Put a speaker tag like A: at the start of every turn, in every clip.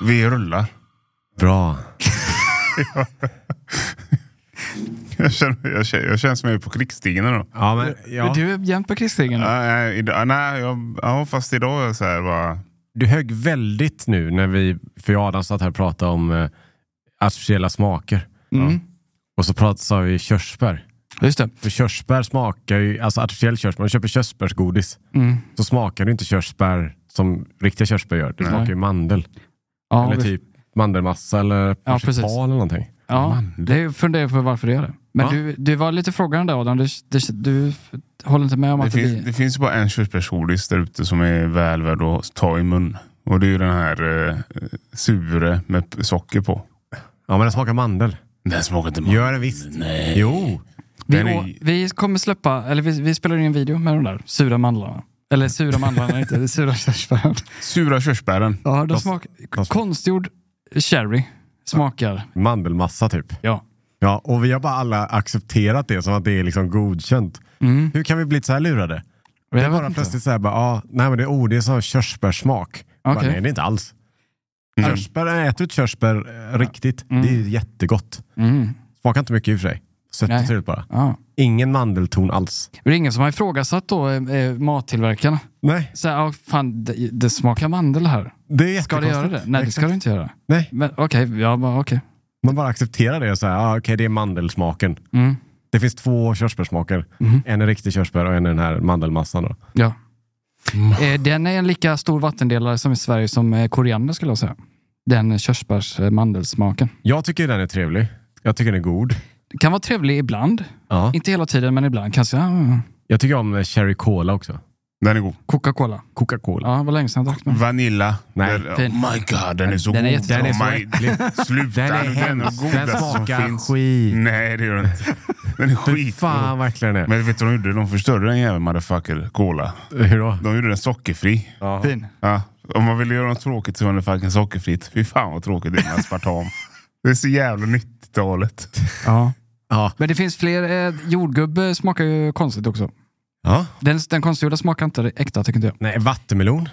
A: Vi rullar.
B: Bra.
A: Jag känner, jag, känner, jag känner som jag är på krigsstigen idag.
B: Ja, men, ja.
C: Du är jämt på krigsstigen. nu.
A: Ja, nej, idag- nej, jag, ja, fast idag är jag så här bara...
B: Du högg väldigt nu när vi, för jag och Adam satt här och pratade om eh, artificiella smaker.
C: Mm.
B: Och så pratade, sa vi körsbär.
C: Just det.
B: För körsbär smakar ju, alltså artificiell körsbär, om du köper körsbärsgodis
C: Mm.
B: så smakar det inte körsbär som riktiga körsbär gör. Det
A: Nej.
B: smakar ju mandel.
C: Ja,
B: eller
C: vi-
B: typ mandelmassa eller
C: Ja, precis.
B: marsipan eller någonting.
C: ja,
A: Mandel.
C: det funderar jag på varför du gör det. Men
B: Ja.
C: du, du var lite frågande Adam. Du, du, du håller inte med om
A: Det
C: att det,
A: finns,
C: blir...
A: det finns ju bara en körsbärsgodis där ute som är väl värd att ta i mun. Och det är ju den här eh, sure med p- socker på.
B: Ja, men den smakar mandel.
A: Den smakar inte
B: Gör den visst.
A: Nej.
B: Jo.
C: Vi,
A: Den är-
C: å- vi kommer släppa, eller vi, vi spelar in en video med de där sura mandlarna. Eller sura mandlarna, inte det är sura körsbären.
A: Sura körsbären.
C: Ja, de
B: De-
C: smak,
B: de-
C: konstgjord sherry smakar.
B: Mandelmassa typ.
C: Ja.
B: Ja, och vi har bara alla accepterat det som att det är liksom godkänt.
C: Mm.
B: Hur kan vi bli så här lurade?
C: Och
B: Det
C: jag
B: är
C: vet
B: bara
C: inte.
B: plötsligt så här, bara, ah, nej men det, oh, det är sån här körsbärssmak. Bara,
C: Okej.
B: Nej, det är inte alls.
A: Mm.
B: Körsbär, jag äter ett körsbär eh, riktigt. Det är ju jättegott.
C: Mm.
B: Smakar inte mycket i och för sig. Sött och
C: Nej.
B: trevligt bara.
C: Ja.
B: Ingen mandelton alls.
C: Men Det är ingen som har ifrågasatt då eh, eh, mattillverkarna.
B: Nej,
C: Så här, ja, fan, det, det smakar mandel här.
B: det är
C: Ska det
B: jättekonstigt.
C: göra det? Nej, det ska
B: Exakt.
C: det inte göra.
B: Nej,
C: Men okej, ja, bara okej.
B: man bara accepterar det. och Så här, ah, okej, det är mandelsmaken.
C: Mm.
B: Det finns två körsbärssmaker.
C: Mhm.
B: En är riktig körsbär och en är den här mandelmassan. Då.
C: Ja.
B: Mm.
C: Eh, Den är en lika stor vattendelare som i Sverige som eh, koriander skulle jag säga. Den eh, körsbärs-mandelsmaken.
B: Jag tycker den är trevlig. Jag tycker den är god.
C: Den kan vara trevlig ibland.
B: Ja.
C: Inte hela tiden, men ibland kanske. Ja, ja, ja.
B: Jag tycker om eh, Cherry Cola också.
A: Den är god.
C: Coca-Cola.
B: Coca-Cola.
C: Ja, det var länge sedan jag drack den.
A: Vanilla.
B: Nej,
A: Den-
C: fin.
A: oh my god, den är så
C: Den
A: god.
C: är jättebra.
A: Den är
B: Den
A: så
B: är
A: äcklig. Sluta
B: Den är
A: nu. Den är
B: hemsk. Den
A: godast som
B: smakar
A: finns.
B: skit.
A: Nej, det gör den inte. Den är
B: Fy
A: skit.
B: fan verkligen det.
A: Men vet du vad de gjorde? De förstörde den jäveln motherfucker, cola.
B: Hur då?
A: De gjorde den sockerfri.
C: Fin.
A: Ja, om man ville göra något tråkigt så var det fucking sockerfritt. Fy fan vad tråkigt det är med aspartam. Det är så jävla 90-talet.
C: Ja.
B: Ja.
C: Men det finns fler. Eh, jordgubbe smakar ju konstigt också.
B: ja.
C: Den, den konstgjorda smakar inte det äkta tycker inte jag.
B: Nej, vattenmelon.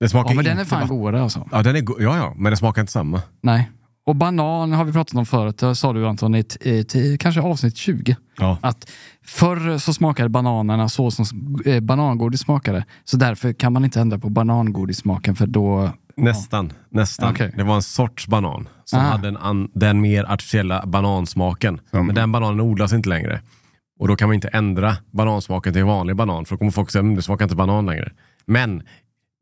B: Den smakar
C: Ja, men den
B: inte
C: är fan
B: vatten-
C: godare alltså.
B: Ja, den är go- ja, ja, men den smakar inte samma.
C: Nej. Och banan har vi pratat om förut. Det sa du Anton i, t- i, t- kanske avsnitt 20.
B: Ja.
C: Att förr så smakade bananerna så som eh, banangodis smakade. Så därför kan man inte ändra på banangodissmaken för då...
B: Nästan. nästan.
C: Okej.
B: Det var en sorts banan som
C: Ah.
B: hade en an- den mer artificiella banansmaken.
A: Som-
B: Men den bananen odlas inte längre. Och då kan man inte ändra banansmaken till en vanlig banan för då kommer folk säga att det smakar inte banan längre. Men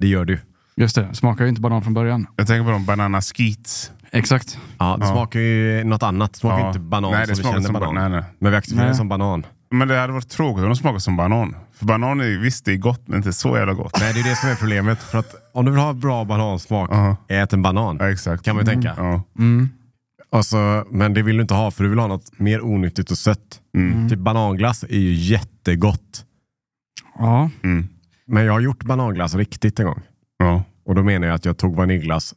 B: det gör det ju.
C: Just det, smakar ju inte banan från början.
A: Jag tänker på de banana skeets.
C: Exakt.
B: Ja, det
A: Ja.
B: smakar ju något annat. Det smakar
A: Ja.
B: inte banan
A: Nej, det
B: som vi
A: smakar
B: känner
A: som
B: banan.
A: banan. Nej, nej.
B: Men vi accepterar det
C: Nej.
B: som banan.
A: Men det hade varit tråkigt om de smakade som banan. För banan är visst, det är gott, men inte så jävla gott.
B: Nej, det är det som är problemet. För att om du vill ha bra banansmak,
A: Ja.
B: ät en banan.
A: Ja, exakt. Mm,
B: Kan man ju tänka.
A: Ja.
C: Mm.
B: Och så- Alltså, men det vill du inte ha, för du vill ha något mer onyttigt och sött.
A: Mm.
C: Mm.
B: Typ bananglass är ju jättegott.
C: Ja.
A: Mm.
B: Men jag har gjort bananglass riktigt en gång.
A: Ja.
B: Och då menar jag att jag tog vaniljglass,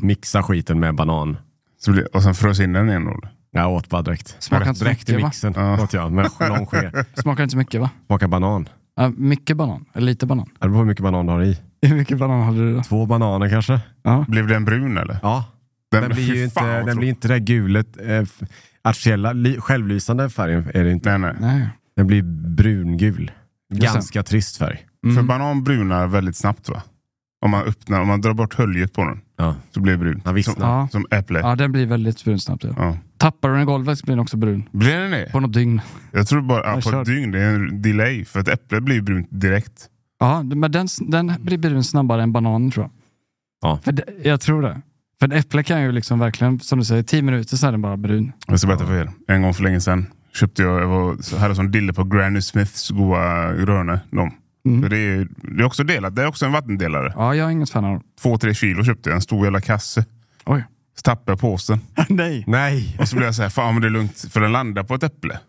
B: mixa skiten med banan.
A: Så blir, och sen frös in den igen. då.
B: Jag åt bara direkt.
C: Smakar inte så
B: direkt i
C: mycket, va?
B: mixen.
A: Ja.
B: Åt jag, med lång sked.
C: Smakar inte så mycket va?
B: Smakar banan.
C: Ja, mycket banan, eller lite banan.
B: Det beror på hur mycket banan du har i.
C: Hur mycket banan hade du då?
B: Två bananer kanske?
A: Blev den brun eller?
B: Ja, Den, blir
A: fy
B: ju
A: fan,
B: inte,
A: vad
B: den blir
A: tråkigt.
B: inte det där gulet, eh, f- artificiella, ly, självlysande färgen är det inte.
A: Nej, nej.
C: Nej.
B: Den blir brungul.
C: det.
B: Ganska trist färg.
A: För
C: Mm.
A: banan brunar väldigt snabbt va? Om man, öppnar, om man drar bort höljet på den
B: Ja.
A: så blir det brun.
B: Den
A: Som,
B: vissnar.
C: Ja.
A: som äpple.
C: ja, den blir väldigt brun snabbt. Ja.
A: Ja.
C: Tappar du den i golvet blir den också brun.
A: Blir den det?
C: På något dygn.
A: Jag tror bara ja,
C: Jag
A: på
C: kör.
A: ett dygn. Det är en delay. För ett äpple blir ju brunt direkt.
C: Ja, men den, den blir brun snabbare än bananen tror jag.
B: Ja.
C: För det, jag tror det. För en äpple kan ju liksom verkligen, som du säger, 10 minuter så är den bara brun.
A: Jag ska berätta för er. En gång för länge sedan köpte jag, jag var, så hade sån dille på Granny Smiths goa röne. De.
C: Mm.
A: Så Det, är, det är också delat. Det är också en vattendelare.
C: Ja, jag är inget fan av dem.
A: Två, tre kilo köpte jag. En stor jävla kasse.
C: Oj.
A: Så tappade jag påsen.
C: Nej.
B: Nej!
A: Och så blev jag så här, fan men det är lugnt. För den landar på ett äpple.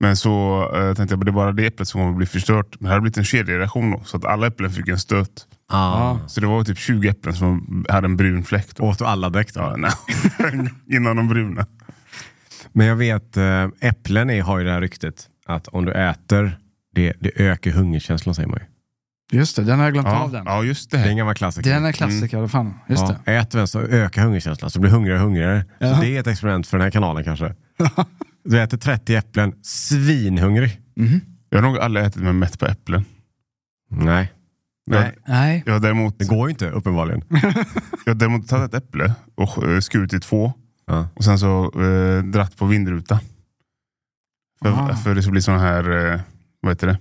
A: Men så eh, tänkte jag, men det är bara det äpplet som kommer bli förstört. Men det hade blivit en kedjereaktion då. Så att alla äpplen fick en stöt.
B: Ah.
A: Så det var typ 20 äpplen som hade en brun fläck. Då.
B: Åt alla direkt.
A: Ja, nej. Innan de bruna.
B: Men jag vet, eh, äpplen är, har ju det här ryktet att om du äter det, det ökar hungerkänslan säger man ju.
C: Just det, den har jag glömt av
A: Ja,
C: den.
A: ja, just
B: Det är
A: det.
B: en gammal klassiker.
C: Den är klassiker, fan. Just
B: Mm. Ja,
C: det.
B: ät den så ökar hungerkänslan, så blir du hungrigare och hungrigare.
C: Ja.
B: Så det är ett experiment för den här kanalen kanske. Du äter 30 äpplen, svinhungrig.
C: Mhm.
A: Jag har nog aldrig ätit mig mätt på äpplen.
B: Nej, Nej.
A: Jag,
C: Nej.
A: jag, har däremot,
B: det går ju inte uppenbarligen.
A: jag har däremot tagit ett äpple och eh, skurit i två
B: Ja.
A: och sen så eh, dratt på vindrutan. För,
C: Ah.
A: för det skulle bli sån här, eh, vad heter det?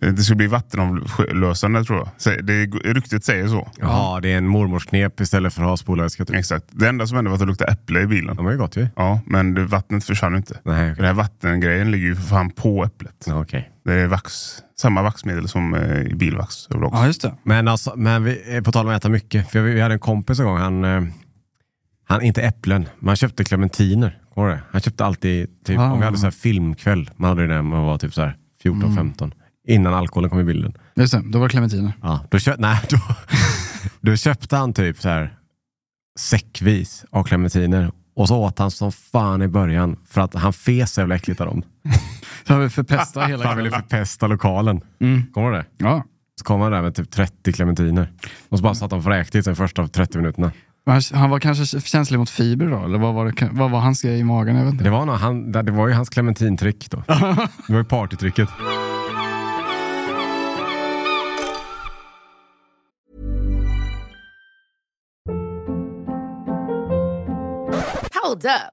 A: Eh, Det skulle bli vattenomlösande tror jag. Sä- Det, ryktet säger så.
B: Jaha, det är en mormors knep istället för att ha spolarvätska. typ.
A: Exakt. Det enda som hände var att det luktade äpple i bilen.
B: De har ju gott ju.
A: Ja, men det, vattnet försvann ju inte.
B: Nej,
A: Den
B: okej.
A: här vattengrejen ligger ju för fan på äpplet.
B: Ja, okej.
A: Det är vax, samma vaxmedel som eh, i bilvax. överlag.
C: Ja, just det.
B: Men, alltså, men vi, eh, på tal om att äta mycket. För vi, vi hade en kompis en gång, han, eh, han inte äpplen, men han köpte clementiner. Kommer du ihåg det? Han köpte alltid, typ,
C: Ah. Mm.
B: om vi hade så här filmkväll, man hade ju det när man var typ så här 14-15. Innan alkoholen kom i bilden.
C: Just det, då var det clementiner.
B: Ja, då, kö- nej, då, då köpte han typ så här säckvis av clementiner. Och så åt han som fan i början för att han fes så jävla äckligt av dem.
C: Så har vi förpestat
B: För
C: hela
B: han ville
C: kvällen.
B: förpesta lokalen.
C: Mm.
B: Kommer du ihåg det?
C: Ja.
B: Så kom han där med typ 30 clementiner. Och så bara satt han och vräkte i sig de första 30 minuterna.
C: Han- Han var kanske känslig mot fiber då, eller vad var, det, vad var hans grej i magen? Jag vet inte.
B: Det var, nog han, det var ju hans clementintrick då. Det var ju partytricket.
D: Hold up.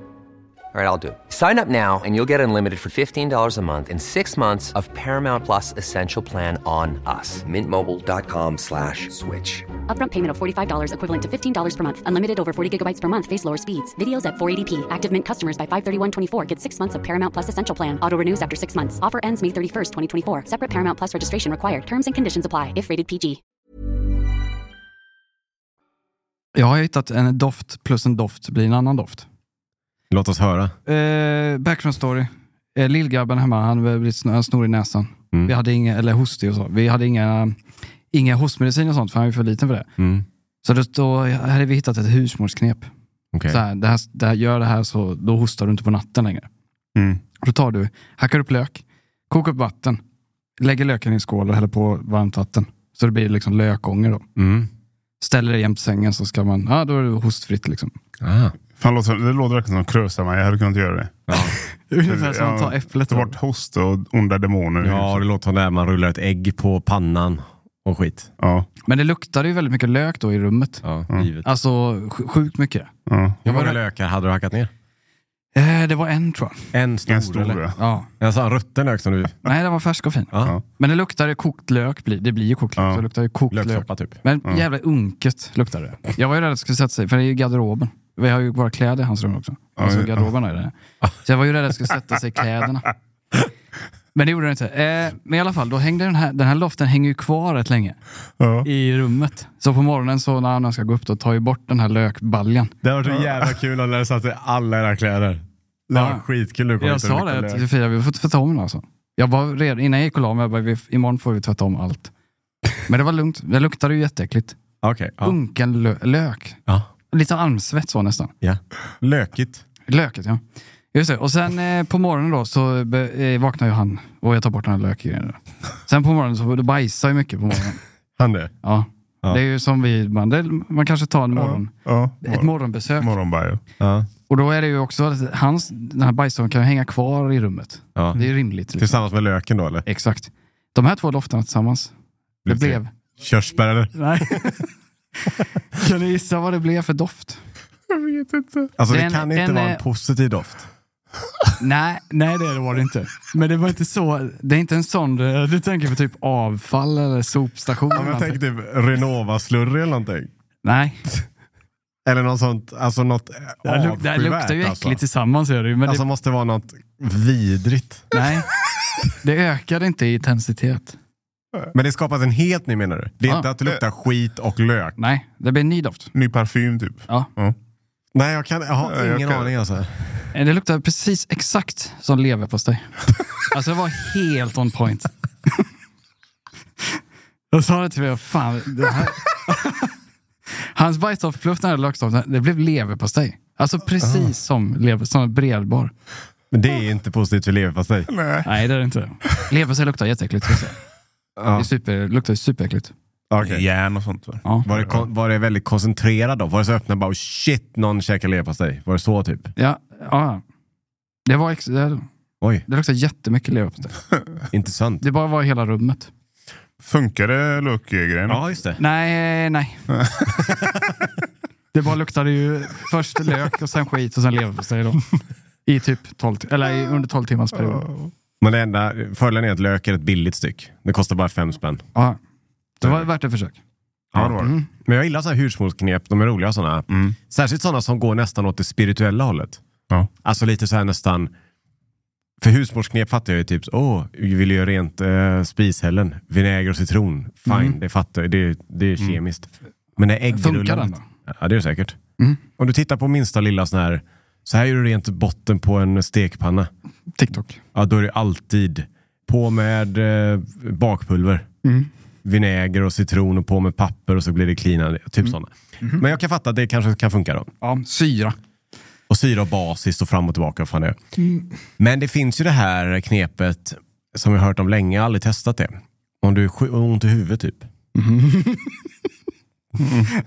E: All right, I'll do. it. Sign up now and you'll get unlimited for $15 a month and six months of Paramount Plus Essential Plan on us. Mintmobile.com slash switch.
F: Upfront payment of $45 equivalent to $15 per month. Unlimited over 40 gigabytes per month. Face lower speeds. Videos at 480p. Active Mint customers by 531.24 get six months of Paramount Plus Essential Plan. Auto renews after six months. Offer ends May 31st, 2024. Separate Paramount Plus registration required. Terms and conditions apply if rated PG.
C: Jag har hittat en doft plus en doft blir en annan doft.
B: Låt oss höra.
C: Eh, background story. Eh, lillgrabben hemma, han hade blivit sn- han snor i näsan.
B: Mm.
C: Vi hade inga, eller hostig och så. Vi hade inga, inga hostmedicin och sånt, för han var ju för liten för det.
B: Mm.
C: Så då, då hade vi hittat ett husmorsknep.
B: Okej.
C: Så här, det här, det här, gör det här så då hostar du inte på natten längre.
A: Mm.
C: Då tar du, hackar upp lök, kokar upp vatten, lägger löken i en skål och häller på varmt vatten. Så det blir liksom lökånger då.
B: Mm.
C: Ställer det jämte sängen så ska man, ja då är det hostfritt liksom.
B: Ah.
A: Fan, låter, det låter verkligen som Kröshammar. Jag hade kunnat göra det.
C: Ungefär som
A: Ja,
C: att ta äpplet.
A: Ta
C: då.
A: bort host och onda demoner. i
B: Ja,
A: huset.
B: det låter som där man rullar ett ägg på pannan och skit.
A: ja,
C: Men det luktade ju väldigt mycket lök då i rummet.
B: Ja,
A: Mm.
B: givet.
C: Alltså sj- sjukt mycket.
A: ja.
B: Hur
C: var
B: många
C: det-
B: lökar hade du hackat ner?
C: Eh, det var en tror jag.
B: En stor,
A: En stor
B: eller?
A: ja.
C: Ja.
B: En sån rutten lök som du...
C: Nej, den var färsk och fin.
B: Ja.
C: Men det luktade kokt lök. blir- Det blir ju kokt lök.
A: Ja.
C: Så det luktar ju kokt lök.
B: Löksoppa typ.
C: Men jävla unket luktade det. Jag var ju rädd att det skulle sätta sig, för det är ju garderoben. Vi har ju våra kläder i hans rum också. Alltså
A: ja.
C: garderoben är det. Så jag var ju rädd att det skulle sätta sig i kläderna. Men det gjorde det inte. Eh, men i alla fall, då hängde den här, den här loften hänger ju kvar rätt länge
A: Ja.
C: i rummet. Så på morgonen så när han ska gå upp då tar ju bort den här lökbaljan.
B: Det hade varit så jävla kul om det satt i alla era kläder. Det hade
C: Ja.
B: varit skitkul nu.
C: Jag sa det till Sofia, vi får tvätta om den alltså. Jag var redan, innan jag gick och la mig, jag bara, vi, imorgon får vi tvätta om allt. Men det var lugnt. Det luktade ju jätteäckligt.
B: Okej. ja.
C: Unken lö- lök.
B: Ja.
C: Lite almsvett så nästan.
B: ja. Lökigt.
C: Löket, ja. Just det. Och sen eh, på morgonen då så be, eh, vaknar ju han och jag tar bort den här lökgrejen. då. Sen på morgonen så då bajsar ju mycket på morgonen.
B: Han det.
C: Ja.
B: Ja.
C: Det är ju som vi, man, det, man kanske tar en morgon,
A: Ja.
C: ett morgonbesök.
A: Morgonbajo.
B: Ja.
C: Och då är det ju också att hans, den här bajstorn kan ju hänga kvar i rummet.
B: Ja.
C: Det är ju rimligt. Liksom.
B: Tillsammans med löken då eller?
C: Exakt. De här två dofterna tillsammans. Det
B: tre.
C: blev...
B: Körsbär eller?
C: Nej. kan ni gissa vad det blev för doft?
A: Jag vet inte.
B: Alltså det
C: Den-
B: kan inte
C: den
B: vara
C: är-
B: en positiv doft.
C: Nej, nej det var det inte. Men det var inte så, det är inte en sån, eh, du tänker på typ avfall eller sopstation.
B: Ja, men
C: eller
B: jag
C: någonting.
B: tänker typ Renova-slurry eller någonting.
C: Nej,
B: Eller något sånt, alltså något
C: det, här luk, det här
B: avskyvärt
C: luktar ju äckligt
B: Alltså,
C: tillsammans gör det ju. Men
B: alltså måste vara något vidrigt.
C: det, nej, Det ökade inte i intensitet.
B: Men det skapas en helt ny menar du? Det är
C: Ja.
B: inte att det luktar skit och lök?
C: Nej, det blir en ny doft.
A: Ny parfym typ.
C: Ja.
B: Nej, jag, kan, jag har
A: Ja, jag
B: ingen
A: kan-
B: aning alltså.
C: Eh, Det luktar precis exakt som leverpastej. Alltså det var helt on point. Jag sa det till mig, fan. Det här... Hans bajsdoftpluff, den här löksdoften, det blev leverpastej. Alltså precis som lever, som en bredbar.
B: Men det är inte positivt för leverpastej.
A: Nej.
C: Nej, det är det inte. Leverpastej luktar jätteäckligt. ska jag säga. Det är
B: Ja,
C: super, luktar superäckligt.
B: okej.
A: Järn och sånt va?
C: Ja.
B: Var det, kon- var det väldigt koncentrerat då? Var det så öppna bara oh shit, någon käkar leverpastej? Var det så typ?
C: Ja, ja. Det, var ex- det,
B: Oj,
C: det luktar jättemycket leverpastej.
B: intressant.
C: Det bara var i hela rummet.
A: Funkade lökgrejen?
B: Ja, just det.
C: Nej, nej. det bara luktade ju först lök och sen skit och sen leverpastej då. I typ 12, ti- eller i under 12 timmars period.
B: Men det enda, fördelen är att lök är ett billigt styck. Det kostar bara fem spänn.
C: Ja. Det var värt ett försök.
A: Ja, det var
C: Mm.
A: det.
B: Men jag gillar sådana här husmorsknep, de är roliga sådana.
A: Mm.
B: Särskilt sådana som går nästan åt det spirituella hållet.
A: Ja.
B: Alltså lite så här nästan... För husmorsknep fattar jag ju typ, åh, vi vill göra rent eh, spishällen. Vinäger och citron, fine, det fattar jag. Det, det är kemiskt. Men det är
C: Mm. Funkar den
B: äggrullandet.
C: då?
B: Ja, det är det säkert.
C: Mm.
B: Om du tittar på minsta lilla sån här, så här gör du rent botten på en stekpanna.
C: TikTok.
B: Ja, då är det alltid på med eh, bakpulver. Vinäger och citron och på med papper och så blir det cleanade. Typ sådana. Men jag kan fatta att det kanske kan funka då.
C: Ja, syra.
B: Och syra och basiskt och fram och tillbaka. Vad fan det är. Men det finns ju det här knepet som jag har hört om länge. Jag har aldrig testat det. Om du är sj- ont i huvudet typ.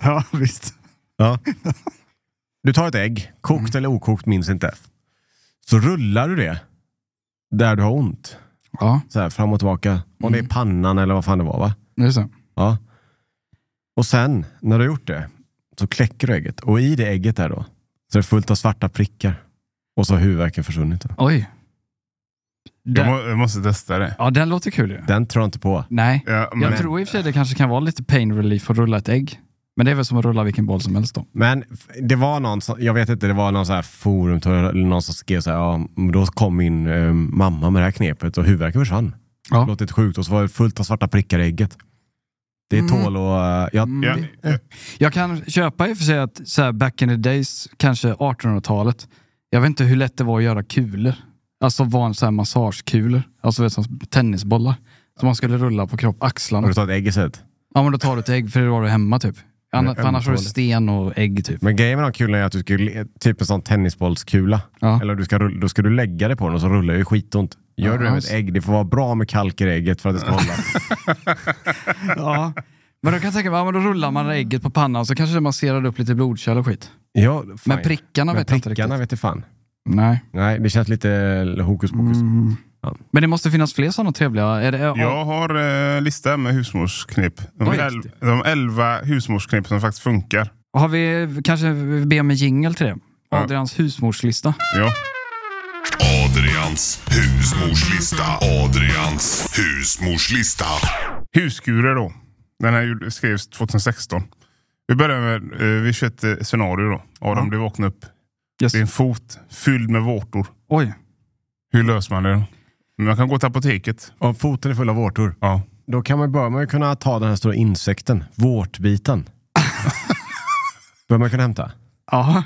C: Ja, visst.
B: Ja. Du tar ett ägg, kokt eller okokt, minns inte. Så rullar du det där du har ont.
C: Ja,
B: Så här fram och tillbaka. Om det är pannan eller vad fan det var va?
C: det är så.
B: Ja. Och sen, när du har gjort det, så kläcker du ägget. Och i det ägget där då, så är det fullt av svarta prickar. Och så har huvudvärken försvunnit. Då.
C: Oj.
A: Jag,
C: Den,
A: må, jag måste testa det.
C: ja, den låter kul ju.
B: Den tror jag inte på.
C: Nej.
A: Ja, men,
C: Jag tror i och för sig det kanske kan vara lite pain relief att rulla ett ägg. Men det är väl som att rulla vilken boll som helst då.
B: Men f- det var någon, som, jag vet inte, det var någon så här forum eller någon som skrev så här, ja, men då kom min eh, mamma med det här knepet och huvudvärken försvann.
C: Ja.
B: Låter lite sjukt och så var det fullt av svarta prickar i ägget. Det är tål och... eh, ja,
C: Mm.
A: ja,
C: Jag kan köpa i och för sig att så här, back in the days, kanske 1800-talet. Jag vet inte hur lätt det var att göra kulor. Alltså van så här massagekulor. Alltså vet, som tennisbollar. Som man skulle rulla på kropp,
B: Har
C: axlarna.
B: du tagit ägg istället?
C: Ja men då tar du ett ägg för det var du hemma typ. Annars,
B: Det är
C: för annars var det
B: ömtåligt.
C: sten och ägg typ.
B: Men grejen med de kulorna är att du ska, ju le- typ en sån tennisbollskula,
C: Ja.
B: eller du ska, rull- då ska du lägga det på den och så rullar det ju skitont. Gör
C: Ja,
B: du det med ett
C: alltså.
B: ägg, det får vara bra med kalk i ägget för att det ska hålla.
C: Ja. Men då kan jag tänka mig, ja, men då rullar man ägget på pannan och så kanske det masserar upp lite blodkärl och skit.
B: ja, fine.
C: Men prickarna
B: Men
C: vet jag inte
B: prickarna
C: riktigt.
B: vet jag fan.
C: Nej.
B: Nej, det känns lite hokus pokus.
C: Mm. Men det måste finnas fler sådana trevliga. Är det,
A: jag har eh, lista med husmorsknep. De,
C: Oj.
A: el, de elva husmorsknep som faktiskt funkar.
C: Har vi kanske vi ber om en jingle till det? Adrians husmorslista.
A: Ja.
G: Adrians husmorslista. Adrians husmorslista.
A: Huskurer då. Den här gjorde- skrevs 2016. Vi börjar med, eh, vi kör ett eh, scenario då. Adam, du vaknar upp.
C: Yes.
A: Det är en fot fylld med vårtor.
C: Oj.
A: Hur löser man det då? Man kan gå till apoteket.
B: Om foten är full av vårtor,
A: Ja.
B: då kan man, bör man ju kunna ta den här stora insekten, vårtbiten. bör man kunna hämta?
C: Ja.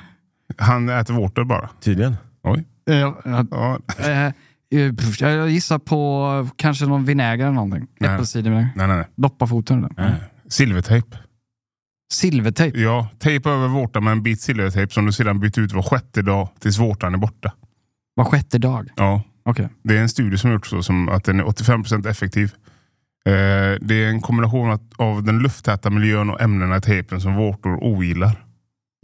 A: Han äter vårtor bara.
B: Tydligen.
A: Oj.
C: Eh,
A: Ja.
C: Eh, eh, pff, Jag gissar på kanske någon vinäger eller någonting.
A: Nej.
C: Äppelcidervinäger.
A: Nej, nej, nej.
C: Doppa foten i den.
A: Silvertejp.
C: Silvertejp.
A: Mm. Ja, tejpa över vårtan med en bit silvertejp som du sedan byter ut var sjätte dag tills vårtan är borta.
C: Var sjätte dag.
A: Ja,
C: Okej.
A: det är en studie som har gjorts så som att den är 85% effektiv. Eh, det är en kombination att- av den lufttäta miljön och ämnena i tejpen som vårtor ogillar.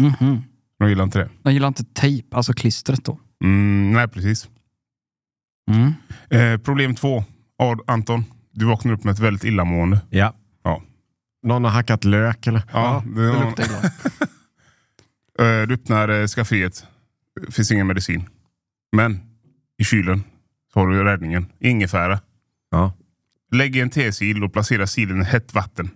C: Mhm.
A: De gillar inte det.
C: De gillar inte tejp, alltså klistret då.
A: Mm, nej, precis.
C: Mm.
A: Eh, problem två. Ad, Anton, du vaknar upp med ett väldigt illamående.
B: Ja.
A: Ja.
B: Någon har hackat lök eller?
A: Ja, det,
C: Det luktar illa.
A: Eh, Du öppnar eh, skafferiet. Det finns ingen medicin. Men i kylen så har du räddningen. Ingefära.
B: Ja.
A: Lägg i en tesil och placera silen i hett vatten.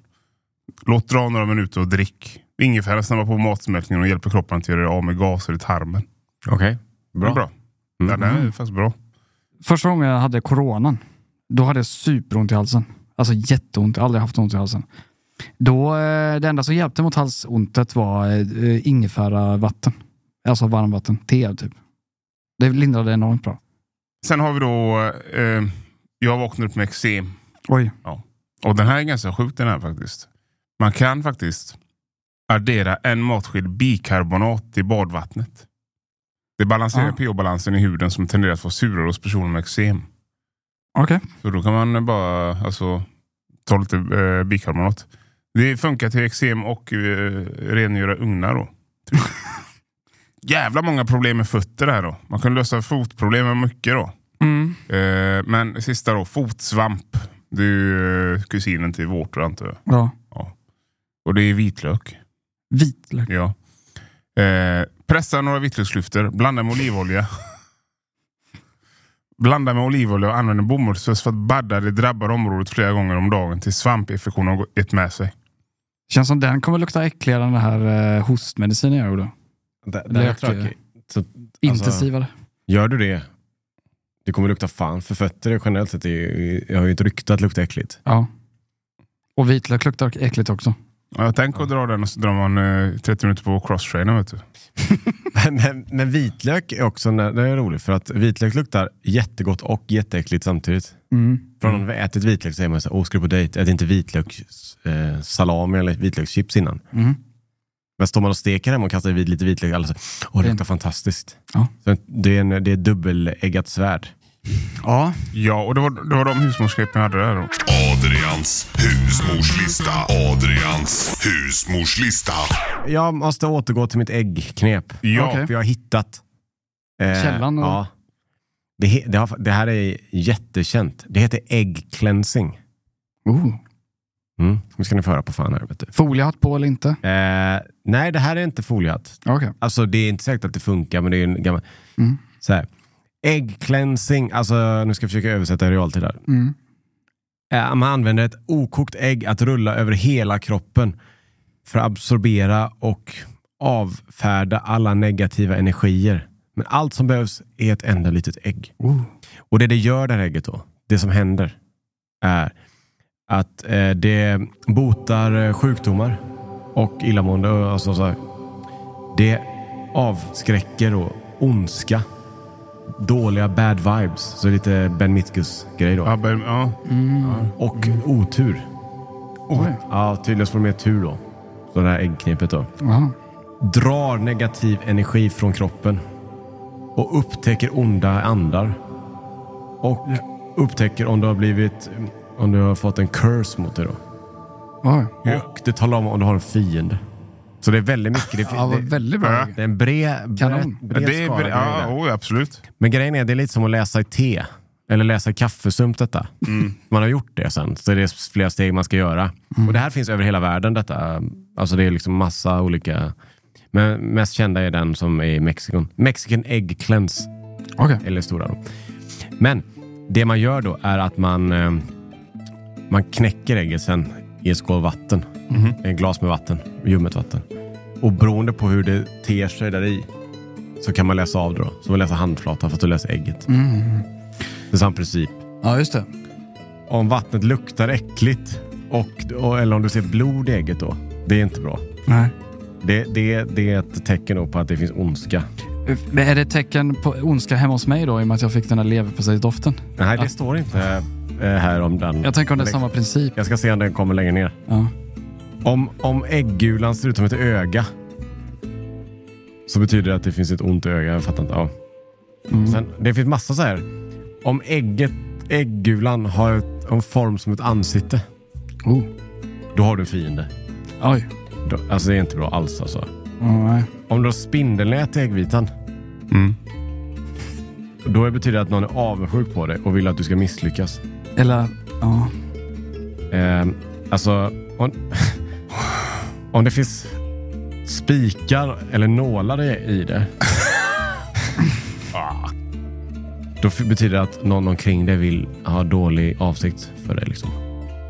A: Låt dra några minuter och drick. Ingefära snabbar på matsmältningen och hjälper kroppen att göra av med gaser i tarmen.
B: Okej. Mm.
A: Bra. bra. Ja, den är faktiskt bra.
C: Första gången jag hade coronan, då hade jag superont i halsen. Alltså jätteont, jag har aldrig haft ont i halsen. Då, eh, det enda som hjälpte mot halsontet var eh, ingefära vatten. Alltså varmvatten, te typ. Det lindrade enormt bra.
A: Sen har vi då, eh, jag vaknade upp med eksem.
C: Oj.
A: Och den här är ganska sjuk den här faktiskt. Man kan faktiskt addera en matsked bikarbonat till badvattnet. Det balanserar
C: Ah.
A: pH-balansen i huden som tenderar att vara surare hos personer med eksem.
C: Okej.
A: Så då kan man bara alltså, ta lite eh, bikarbonat. Det funkar till eksem och eh, rengöra ugnar då. typ. Jävla många problem med fötter här då. Man kan lösa fotproblem med mycket då.
C: Mm.
A: Eh, men sista då, fotsvamp. Det är ju eh, kusinen till vårtor antar jag.
C: Ja.
A: Och det är vitlök.
C: Vitlök.
A: Ja. Eh, pressa några vitlöksklyftor, blanda med olivolja. blanda med olivolja och använd en bomullsföss för att badda det drabbade området flera gånger om dagen tills svampinfektionen har gett med sig.
C: Känns som den kommer lukta äckligare än den här eh, hostmedicinen jag gjorde.
B: Det, det
C: Lök,
B: är tråkigt. Så, alltså,
C: Intensivare.
B: Gör du det, det kommer lukta fan. För fötter är generellt sett, det är- jag har ju ett rykte att lukta äckligt.
C: Ja. Och vitlök luktar äckligt också.
A: Ja, tänk att dra den och så drar man eh, 30 minuter på crosstrainer. Vet du.
B: men, men vitlök är också när- det är roligt, för att vitlök luktar jättegott och jätteäckligt samtidigt.
C: Mm.
B: Från att vi har ätit vitlök säger man så här, åh ska du på dejt, ät inte vitlökssalami eller vitlökschips innan.
C: Mm.
B: Men står man och steker hemma och kastar vid lite vitlök, alla så, här, åh det luktar fantastiskt.
C: Ja.
B: Så det, är en, det är ett dubbeleggat svärd.
C: Ja.
A: Ja, och det var, det var de husmorsgreppen jag hade där då.
G: Adrians husmorslista. Adrians husmorslista.
B: Jag måste återgå till mitt äggknep.
A: Ja,
C: Okej.
B: För jag har hittat... eh,
C: Källan, eller?
B: Ja. Det, he- det, har, det här är jättekänt. Det heter äggcleansing.
C: Oh.
B: Mm. Nu ska ni få höra på fan här. Vet du.
C: Foliehatt på eller inte?
B: Eh, nej, det här är inte foliehatt.
C: Okej.
B: Alltså det är inte säkert att det funkar, men det är en gammal...
C: Mm.
B: Så här. Äggcleansing, alltså nu ska jag försöka översätta i realtid här.
C: Mm.
B: Eh, Man använder ett okokt ägg att rulla över hela kroppen för att absorbera och avfärda alla negativa energier. Men allt som behövs är ett enda litet ägg. Och det det gör det här ägget då, det som händer är att eh, det botar eh, sjukdomar och illamående. och Alltså, så här. Det avskräcker då ondska, dåliga bad vibes, så lite Ben Mitkus-grej då.
A: ja, ben, ja.
B: Och otur.
C: Oj.
B: Ja, tydligen så får de mer tur då. Så det här äggknepet då.
C: Ja.
B: Drar negativ energi från kroppen. Och upptäcker onda andar. Och upptäcker om du har blivit... Om du har fått en curse mot dig då.
C: Oj.
B: Och det talar om om du har en fiende. Så det är väldigt mycket. Det,
C: Ja, vad
B: det,
C: väldigt bra.
A: Ja.
C: Jörgen.
B: det är en bred, bred,
C: Kanon.
A: Ja,
B: bred
A: det är,
B: skara
A: bra- ja,
B: grejer där.
A: oj, absolut.
B: Men grejen är, det är lite som att läsa i te. Eller läsa i kaffesump detta. Man har gjort det sen, så det är flera steg man ska göra. Och det här finns över hela världen detta. Alltså det är liksom massa olika. Men mest kända är den som är i Mexiko. Mexican Egg Cleanse,
C: Okej.
B: eller stora då. Men det man gör då är att man, eh, man knäcker ägget sen i en skål vatten.
C: Mhm.
B: En glas med vatten, ljummet vatten. Och beroende på hur det ter sig där i så kan man läsa av det då. Så man läser handflatan för att du läser ägget.
C: Mhm.
B: Det är samma princip.
C: Ja, just det.
B: Om vattnet luktar äckligt och, och, eller om du ser blod i ägget då, det är inte bra.
C: Nej.
B: Det, det, det är ett tecken då på att det finns ondska.
C: Men Är det ett tecken på ondska hemma hos mig då i och med att jag fick den här leverpastejsdoften?
B: Nej, det
C: Ja.
B: står inte eh, här om den.
C: Jag tänker om det är samma princip.
B: Jag ska se om den kommer längre ner.
C: Ja.
B: Om, om äggulan ser ut som ett öga så betyder det att det finns ett ont öga. Jag fattar inte. Ja. Sen, det finns massa så här. Om ägget, äggulan har ett, en form som ett ansikte,
C: Oh.
B: då har du en fiende.
C: Oj.
B: Då, alltså det är inte bra alls alltså.
C: Ja, nej.
B: Om du har spindelnät i äggvitan,
A: Mm.
B: då betyder det att någon är avundsjuk på dig och vill att du ska misslyckas.
C: Eller, ja.
B: Ehm, alltså, om, om det finns spikar eller nålar i i det. ah, då f- betyder det att någon omkring dig vill ha dålig avsikt för dig. Liksom.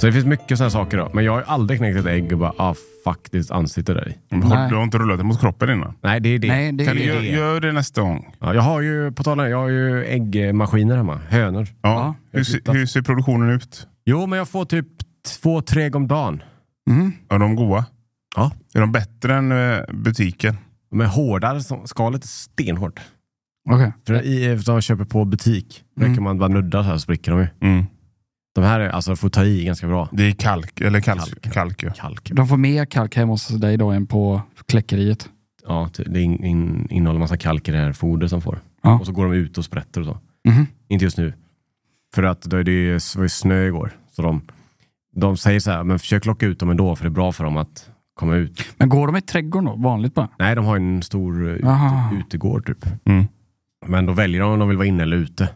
B: Så det finns mycket sådana saker. Då. Men jag har ju aldrig knäckt ett ägg och bara, ah, fuck ditt ansikte där i.
A: Men Har,
C: Nej.
A: du har inte rullat det mot kroppen innan?
B: Nej, det är det.
C: Nej, det är
A: Kan du
C: det.
A: gör, gör det nästa gång.
B: Ja, jag har ju, på tal om det, jag har ju äggmaskiner hemma. Hönor.
A: Ja. hur,
B: jag har
A: se-
B: tittat.
A: hur ser produktionen ut?
B: Jo, men jag får typ två, tre ägg om dagen.
A: Är de goda?
B: Ja.
A: Är de bättre än eh, butiken?
B: De är hårdare, som- skalet är stenhårt.
C: Okej.
B: För i, som man köper på butik, mm. räcker man bara nudda så här så spricker de ju.
A: Mm.
B: De här är, alltså, får ta i ganska bra.
A: Det är kalk, eller kalk,
B: Kalk.
A: kalk. ja.
B: Kalk.
C: De får mer kalk hemma hos dig då än på kläckeriet.
B: Ja, ty- det in, in, innehåller massa kalk i det här fodret som får.
C: Ja.
B: Och så går de ut och sprätter och så.
C: Mhm.
B: Inte just nu. För att då är det ju, det var ju snö igår. Så de, de säger så här, men försök locka ut dem ändå för det är bra för dem att komma ut.
C: Men går de i trädgården då? Vanligt bara?
B: Nej, de har ju en stor eh, ute,
C: Aha.
B: utegård typ.
A: Mm.
B: Men då väljer de om de vill vara inne eller ute.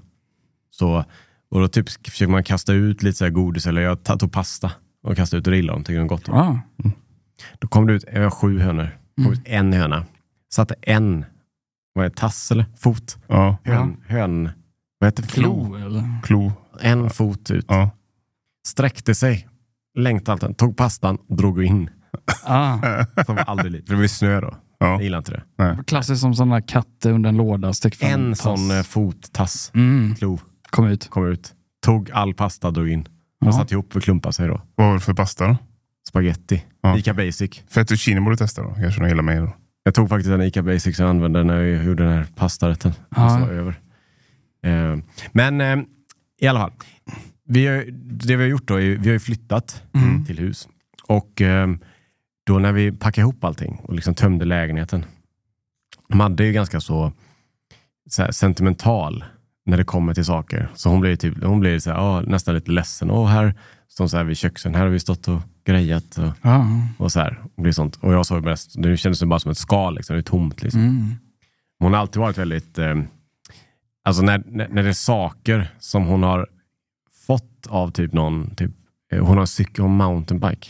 B: Så, och då typ sk- försöker man kasta ut lite så här godis, eller jag ta- tog pasta och kastade ut och det gillade de, tycker de är gott.
C: Ja. Mm.
B: Då kom det ut, jag har sju hönor, kom ut en höna, satte en, vad är det, tass eller fot?
A: ja.
B: Hön, hön, vad heter det?
C: Klo eller?
A: Klo.
B: En fot ut,
A: Ja.
B: sträckte sig, längtade allt, tog pastan, drog in.
C: Ah,
B: Som var aldrig lite, för det var ju snö då.
A: Ja.
B: Jag gillar inte det.
C: klassiskt som sådana katter under en låda. Stick fram
B: En
C: tass.
B: sån eh, fot, tass,
C: Mm,
B: klo,
C: kom ut.
B: kom ut, tog all pasta, drog in.
C: Ja.
B: De satt ihop och klumpade sig då.
A: Vad var det för pasta då?
B: Spaghetti.
A: Ja.
B: Ica Basic.
A: Fettuccine borde du testa då. Kanske de gillar mig då.
B: Jag tog faktiskt en Ica Basic som jag använde när jag gjorde den här pastarätten.
C: Ja.
B: som var över. Eh, men eh, i alla fall. Vi har, det vi har gjort då, är, vi har ju flyttat till hus. Och eh, då när vi packade ihop allting och liksom tömde lägenheten. De hade ju ganska så, så här, sentimental när det kommer till saker. Så hon blev, typ, hon blev så här, ja, nästan lite ledsen. Åh, här står hon så här vid köksön, här har vi stått och grejat. Och,
C: Ja.
B: och så här. Och, blir sånt. och jag såg mest, nu kändes det bara som ett skal, liksom. det är tomt. Liksom.
C: Mm.
B: Hon har alltid varit väldigt, eh, alltså när, när, när det är saker som hon har fått av typ någon, typ, eh, hon har en cykel och mountainbike,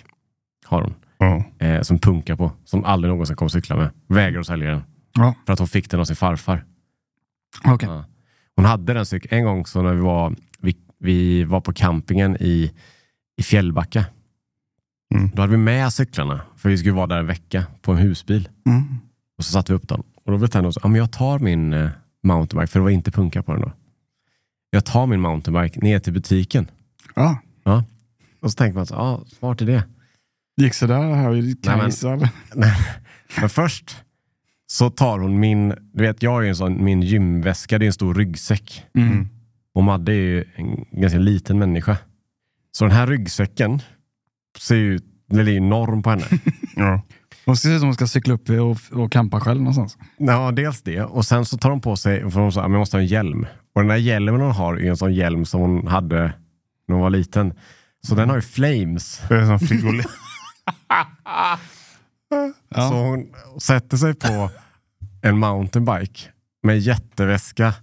B: har hon,
A: Ja.
B: eh, som punkar på, som aldrig någonsin kommer cykla med. Vägrar att sälja den.
C: Ja.
B: För att hon fick den av sin farfar.
C: Okej.
B: Ja. Hon hade den cykeln, en gång så när vi var, vi, vi var på campingen i, i Fjällbacka,
A: Mm.
B: då hade vi med cyklarna, för vi skulle vara där en vecka på en husbil.
C: Mm.
B: Och så satte vi upp dem. Och då bestämde de sig, ja, men jag tar min eh, mountainbike, för det var inte punka på den då. Jag tar min mountainbike ner till butiken.
C: Ja.
B: Och så tänker man, så, ja, smart idé.
C: Gick sådär här
B: Nej, men-
C: Kajsa? eller?
B: Men först så tar hon min, du vet jag är ju en sån, min gymväska, det är en stor ryggsäck.
C: Mm.
B: Och Madde är ju en ganska liten människa. Så den här ryggsäcken ser ju, den är ju enorm på henne.
A: Ja.
C: Hon ser ut som hon ska cykla upp och, och campa själv någonstans.
B: Ja, dels det. Och sen så tar hon på sig, för hon sa att jag måste ha en hjälm. Och den där hjälmen hon har är ju en sån hjälm som hon hade när hon var liten. Så den har ju flames.
A: Det är som frigoli.
C: Ja.
B: Så hon sätter sig på en mountainbike med en jätteväska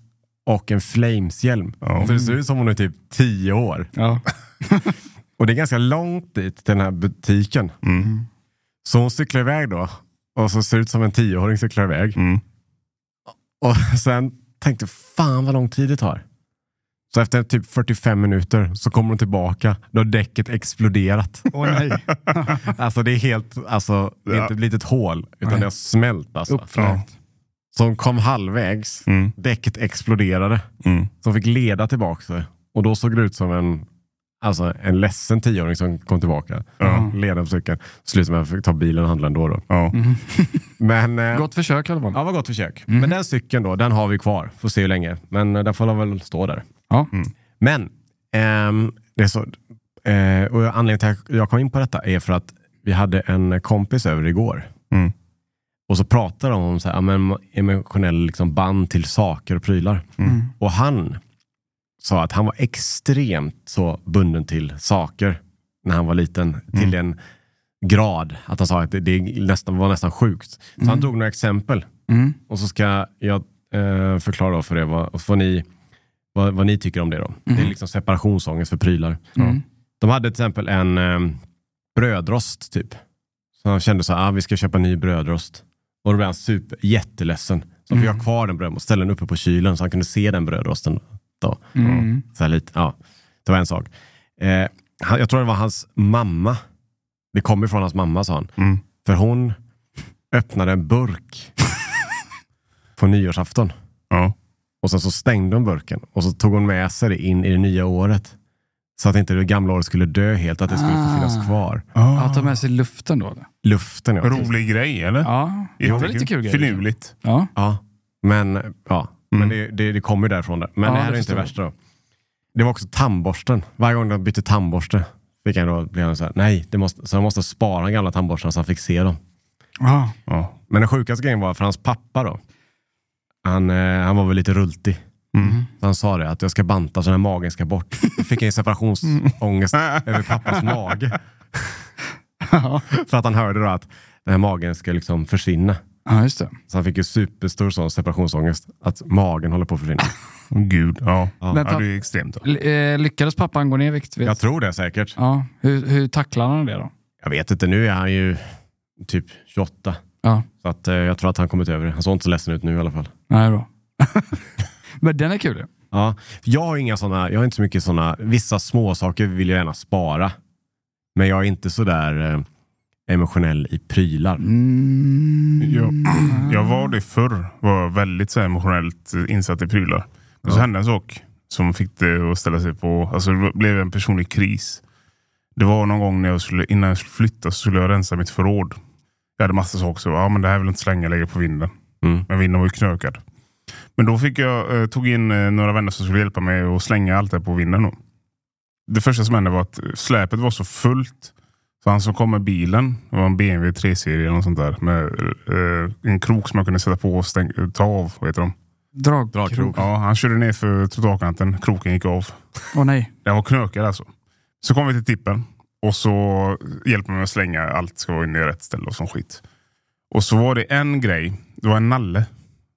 B: och en flameshjälm.
A: Ja.
B: Så det ser ut som hon är typ tio år.
C: Ja.
B: Och det är ganska långt dit till den här butiken.
A: Mm.
B: Så hon cyklar iväg då. Och så ser det ut som en tioåring cyklar iväg.
A: Mm.
B: Och sen tänkte jag, fan vad lång tid det tar. Så efter typ 45 minuter så kommer hon tillbaka. Då har däcket exploderat.
C: Åh nej.
B: Alltså det är helt, alltså det är inte ett litet hål. Utan det har smält alltså.
A: Uppfräckt.
B: Så hon kom halvvägs.
A: Mm.
B: Däcket exploderade.
A: Mm.
B: Så hon fick leda tillbaka sig. Och då såg det ut som en, alltså en ledsen tioåring som kom tillbaka.
A: Ja.
B: Leden på cykeln. Slutade med att jag fick ta bilen och handla ändå då.
A: Ja.
B: Men, eh,
C: Gott försök i alla fall.
B: Ja, vad gott försök.
A: Mhm.
B: Men den cykeln då, den har vi kvar. Får se hur länge. Men eh, den får väl stå där.
C: Ja.
B: Mm. Men, ehm, det är så. Eh, och anledningen till att jag kom in på detta är för att vi hade en kompis över igår.
A: Mm.
B: Och så pratade de om så här, ja, men emotionell liksom band till saker och prylar.
C: Mm.
B: Och han sa att han var extremt så bunden till saker när han var liten.
C: Mm.
B: Till en grad att han sa att det, det nästan, var nästan sjukt. Så han drog några exempel.
C: Mm.
B: Och så ska jag eh, förklara då för er vad, och får ni, vad, vad ni tycker om det. Då. Det är liksom separationsångest för prylar.
C: Mm.
B: De hade till exempel en eh, brödrost typ. Så han kände så här, ah, vi ska köpa en ny brödrost. Och då blev han super, jätteledsen. Så han fick ha kvar den brödrosten och ställa den uppe på kylen så han kunde se den brödrosten. Då.
C: Mm.
B: Så här lite, ja. Det var en sak. Eh, han, jag tror det var hans mamma. Det kom ifrån hans mamma sa han.
A: Mm.
B: För hon öppnade en burk på nyårsafton.
A: Ja.
B: Och sen så stängde hon burken och så tog hon med sig det in i det nya året. Så att inte det gamla året skulle dö helt, att det skulle
C: Ah.
B: få finnas kvar.
C: Ja, ta med sig luften då. eller?
B: Luften ja.
A: Rolig grej, eller?
C: Ja, det var väl lite kul grej.
A: Finurligt.
C: Ja.
B: Ja, men, ja. men det, det, det kommer ju därifrån. Där. Men
C: Mm. Ja,
B: det här
C: det
B: är inte
C: förstår
B: det värsta. Då. Det var också tandborsten. Varje gång de bytte tandborste fick han då bli så här, nej, det måste, så han måste spara de gamla tandborstarna så han fick se dem.
C: Ja.
A: Ja.
B: Men den sjukaste grejen var för hans pappa då. Han, eh, han var väl lite rultig. Så han sa det, att jag ska banta så den här magen ska bort. Då fick jag ju separationsångest över pappas mage. för att han hörde då att den här magen ska liksom försvinna.
C: ja, just det.
B: Så han fick ju superstor sån separationsångest. Att magen håller på att försvinna.
A: Åh, gud, ja. ja.
C: Men
A: ja
C: pappa-
A: det är extremt. då.
C: L- eh, lyckades pappan gå ner i vikt? Vet?
B: Jag tror det säkert.
C: Ja. Hur, hur tacklar han det då?
B: Jag vet inte, nu är han ju typ 28.
C: Ja,
B: Så att, eh, jag tror att han kommit över det. Han såg inte så ledsen ut nu i alla fall.
C: nej då. Men den är kul ju.
B: Ja, för jag har inga såna, jag har inte så mycket såna, vissa små saker vill jag gärna spara. Men jag är inte så där eh, emotionell i prylar.
A: Mm.
C: Mm.
A: Jag, jag var det förr. Var väldigt så här emotionellt eh, insatt i prylar. Men så hände en sak som fick det att ställa sig på... Alltså det blev en personlig kris. Det var någon gång när jag skulle, innan jag skulle flytta så skulle jag rensa mitt förråd. Jag hade massa saker. Så, ja, men det här vill jag inte slänga, lägga på vinden.
B: Mm.
A: Men vinden var ju knökad. Men då fick jag, eh, tog in eh, några vänner som skulle hjälpa mig att slänga allt det här på vinden. Då. Det första som hände var att eh, släpet var så fullt. Så han som kom med bilen, det var en BMW 3-serie eller något sånt där. Med eh, en krok som jag kunde sätta på och stäng, ta av. Vad heter de?
C: Dragkrok.
B: Dragkrok.
A: Ja, han körde ner för trottoarkanten. Kroken gick av.
C: Åh nej.
A: Den var knökad alltså. Så kom vi till tippen och så hjälper man mig att slänga allt ska vara inne i rätt ställe och sån skit. Och så var det en grej, det var en nalle.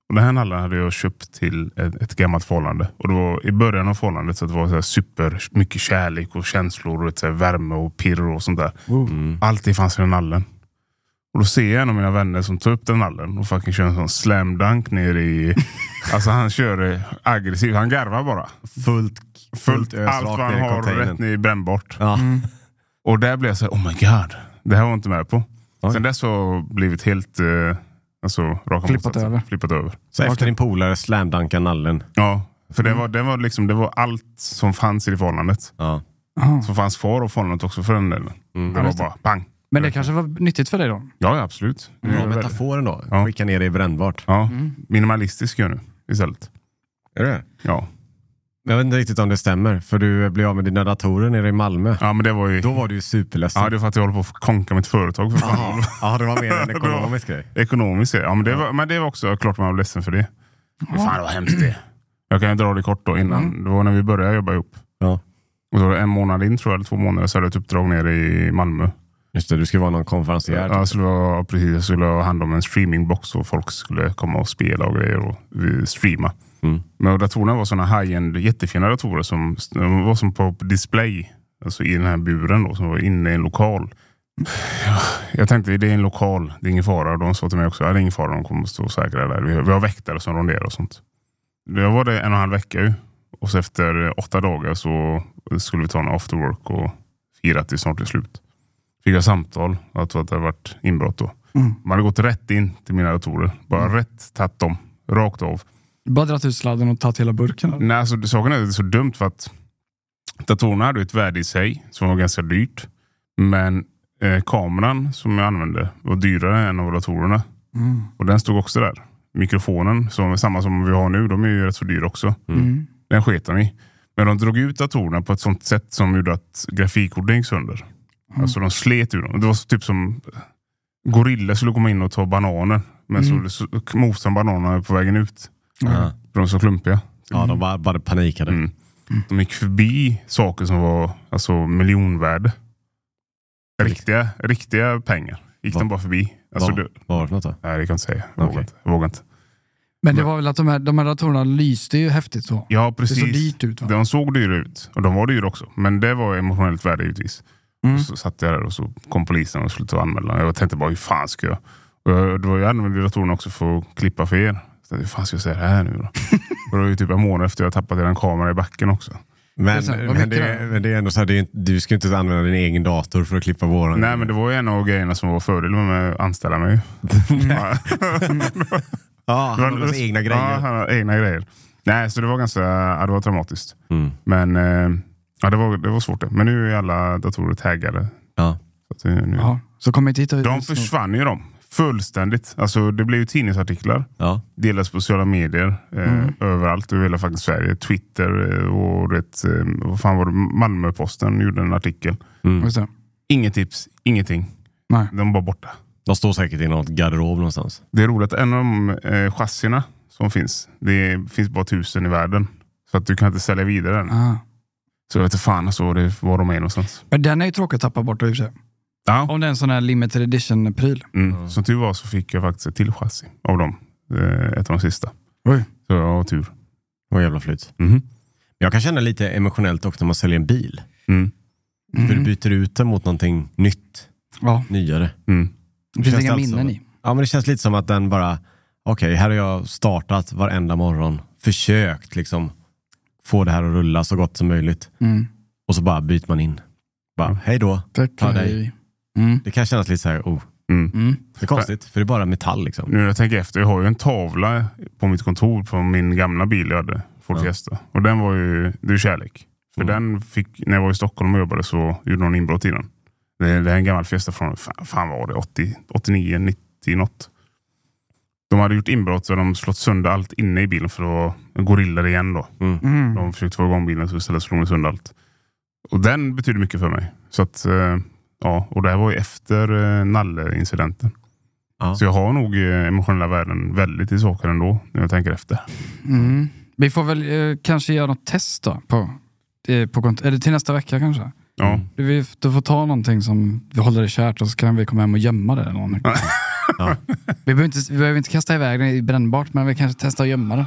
A: Och den här nallen hade jag köpt till ett, ett gammalt förhållande. Och det var i början av förhållandet så det var så här super mycket kärlek och känslor och ett så här värme och pirr och sånt där. Allt det fanns i den nallen. Och då ser jag en av mina vänner som tar upp den nallen och fucking kör en sån slam dunk ner i... alltså han kör eh, aggressivt, han garvar bara
B: Fullt,
A: fullt
B: ös
A: allt
B: rakt
A: vad
B: ner
A: han
B: i
A: har
B: containern.
A: rätt ner i Mm. brännbart.
B: Ja.
A: Och där blev jag så här, oh my god, det här var jag inte med på.
B: Oj.
A: Sen dess har jag blivit helt eh, alltså, raka
C: Flippat
A: motsatsen.
C: över.
A: Flippat över.
B: Så efter din polare slamdankar nallen.
A: Ja, för det, var, det, var liksom, det var allt som fanns i det förhållandet.
B: Ja.
A: Som fanns kvar av förhållandet också för den delen. Mm. Det var bara pang.
C: Men det kanske var nyttigt för dig då?
A: Ja, Mm. ja Mm. absolut. Det
B: Bra
A: är väl-
B: metaforen då.
A: Ja.
B: Skicka ner det i brännbart.
A: Ja, minimalistisk gör jag nu istället.
B: Är det?
A: Ja.
B: Jag vet inte riktigt om det stämmer, för du blev av med dina datorer nere i Malmö.
A: ja, men det var ju...
B: Då var du ju superledsen.
A: Ja, det är för att jag håller på att konka mitt företag för fan.
B: ja, det var mer en ekonomisk grej.
A: Ekonomisk ja. Men det, var, men det var också klart man var ledsen för det. Men fan vad hemskt det Mm. är. Jag kan ju dra det kort då innan. Det var när vi började jobba ihop.
B: Ja.
A: Och då var det en månad in tror jag, eller två månader, så hade jag ett uppdrag nere i Malmö.
B: Just det, du skulle vara någon konferencier.
A: Jag Alltså, skulle, ha, precis, jag skulle ha hand om en streamingbox och folk skulle komma och spela och grejer och eh, streama.
B: Mm.
A: Men datorerna var sådana high-end, jättefina datorer som de var som på display. Alltså i den här buren då, som var inne i en lokal. Jag tänkte, det är en lokal, det är ingen fara. Och de sa till mig också, "Ja, det är ingen fara, de kommer att stå säkra där. Vi har, vi har väktare som ronderar och sånt. Jag var det en och en halv vecka ju. Och så efter eh, åtta dagar så skulle vi ta en after work och fira att det snart är slut fick jag samtal. Jag tror att det hade varit inbrott då. Man hade gått rätt in till mina datorer. Bara rätt tagit dem. Rakt av.
C: Bara dragit ut sladden och tagit hela burken? eller?
A: Nej, alltså, det- saken är att det är så dumt för att datorerna hade ju ett värde i sig som var ganska dyrt. Men eh, kameran som jag använde var dyrare än av datorerna. Och den stod också där. Mikrofonen, som, samma som vi har nu, de är ju rätt så dyra också. Den sket de i. Men de drog ut datorerna på ett sånt sätt som gjorde att grafikkorten gick sönder. Alltså de slet ur dem. Det var så typ som gorillor skulle komma in och ta bananer. Men så, så mosade bananerna på vägen ut.
B: Ja.
A: För de var så klumpiga.
B: Ja, de bara, bara panikade.
A: Mm. De gick förbi saker som var alltså, miljonvärde. Riktiga, riktiga pengar gick
B: Va?
A: de bara förbi. Alltså,
B: vad,
A: du,
B: vad var det för något då?
A: nej, det kan jag inte säga. Jag vågar
B: Okej.
A: inte. Jag vågar inte.
C: Men det var väl att de här, de här datorerna lyste ju häftigt så.
A: Ja,
C: Det
A: precis.
C: såg dyrt ut va?
A: De såg dyra ut. Och de var dyra också. Men det var emotionellt värde givetvis.
C: Mm.
A: Och Så satt jag där och så kom polisen och skulle ta anmälan. Jag tänkte bara, hur fan ska jag... Och jag, det var jag använde datorn också för att klippa för er. Så jag tänkte, hur fan ska jag säga det här nu då? och det var ju typ en månad efter jag tappat den kameran i backen också.
B: Men,
C: Det är så- vad
B: men,
C: mycket
B: det,
C: då?
B: men det är ändå så här, det är, inte- du ska inte använda din egen dator för att klippa våran.
A: Nej, men det var ju en av grejerna som var fördelen med att anställa mig. Ja.
B: Ja, han har
A: Det
B: hans
A: var-
B: egna
A: Ja,
B: grejer.
A: han har egna grejer. Nej, så det var ganska ja, det var traumatiskt. Men eh, ja, det, var, det var svårt det. Men nu är alla datorer taggade.
B: Ja.
A: Så att det- nu,
C: Ja, så kommer inte hitta ut.
A: De försvann ju de. Fullständigt. Alltså, det blev ju tidningsartiklar.
B: Ja.
A: Delades på sociala medier. Eh,
B: Mm.
A: Överallt över hela faktiskt Sverige. Twitter eh, och ett, eh, vad fan var det? Malmöposten gjorde en artikel.
C: Mm. Just det.
A: Inget tips, ingenting.
C: Nej.
A: De var borta.
B: De står säkert i något garderob någonstans.
A: Det är roligt, en av de eh, chassierna som finns, det finns bara tusen i världen. Så att du kan inte sälja vidare den.
C: Ah.
A: Så jag vet inte fan alltså, det, var de är någonstans.
C: Men den är ju tråkig att tappa bort i och för sig.
A: Ja.
C: Om det är en sån här limited edition-pryl.
A: Mm. Som tur var så fick jag faktiskt ett till chassi av dem. Eh, ett av de sista.
C: Oj.
A: Så jag har tur.
B: Vad jävla flyt.
A: Mhm.
B: Jag kan känna lite emotionellt också när man säljer en bil.
A: Mm.
B: För du byter ut den mot någonting nytt,
C: Ja,
B: nyare.
A: Mm.
C: det finns
B: Känns
C: inga
B: det alltså-
C: minnen i.
B: Ja, men det känns lite som att den bara, okej, här har jag startat varenda morgon, försökt liksom få det här att rulla så gott som möjligt.
C: Mm.
B: Och så bara byter man in. Bara, hej då. Ta dig.
C: Mm.
B: Det kan kännas lite så här, oh,
A: Mm.
C: Mm.
B: det är konstigt, för det är bara metall liksom.
A: Nu när jag tänker efter, jag har ju en tavla på mitt kontor på min gamla bil jag hade, Ford
B: Ja.
A: Fiesta. Och den var ju, det är ju kärlek. För
B: Mm.
A: den fick, när jag var i Stockholm och jobbade så gjorde någon inbrott i den. Det, det är en gammal Fiesta från, fan, fan vad var det, 80, 89, 90 något. De hade gjort inbrott så de slått sönder allt inne i bilen för att gorillor igen då.
C: Mm.
A: De försökte få igång bilen så istället slog de sönder allt. Och den betyder mycket för mig. Så att, eh, ja, och det här var ju efter eh, Nalle-incidenten.
B: Ja.
A: Så jag har nog eh, emotionella värden väldigt i saker ändå, när jag tänker efter.
C: Mm. Vi får väl eh, kanske göra något test då. På, eh, på kont- eller till nästa vecka kanske.
A: Ja.
B: Mm.
C: Du, vi, du får ta någonting som vi håller i kärt och så kan vi komma hem och gömma det. eller någonting.
B: Ja.
C: vi, behöver inte, vi behöver inte kasta iväg det i brännbart, men vi kanske testar att gömma det.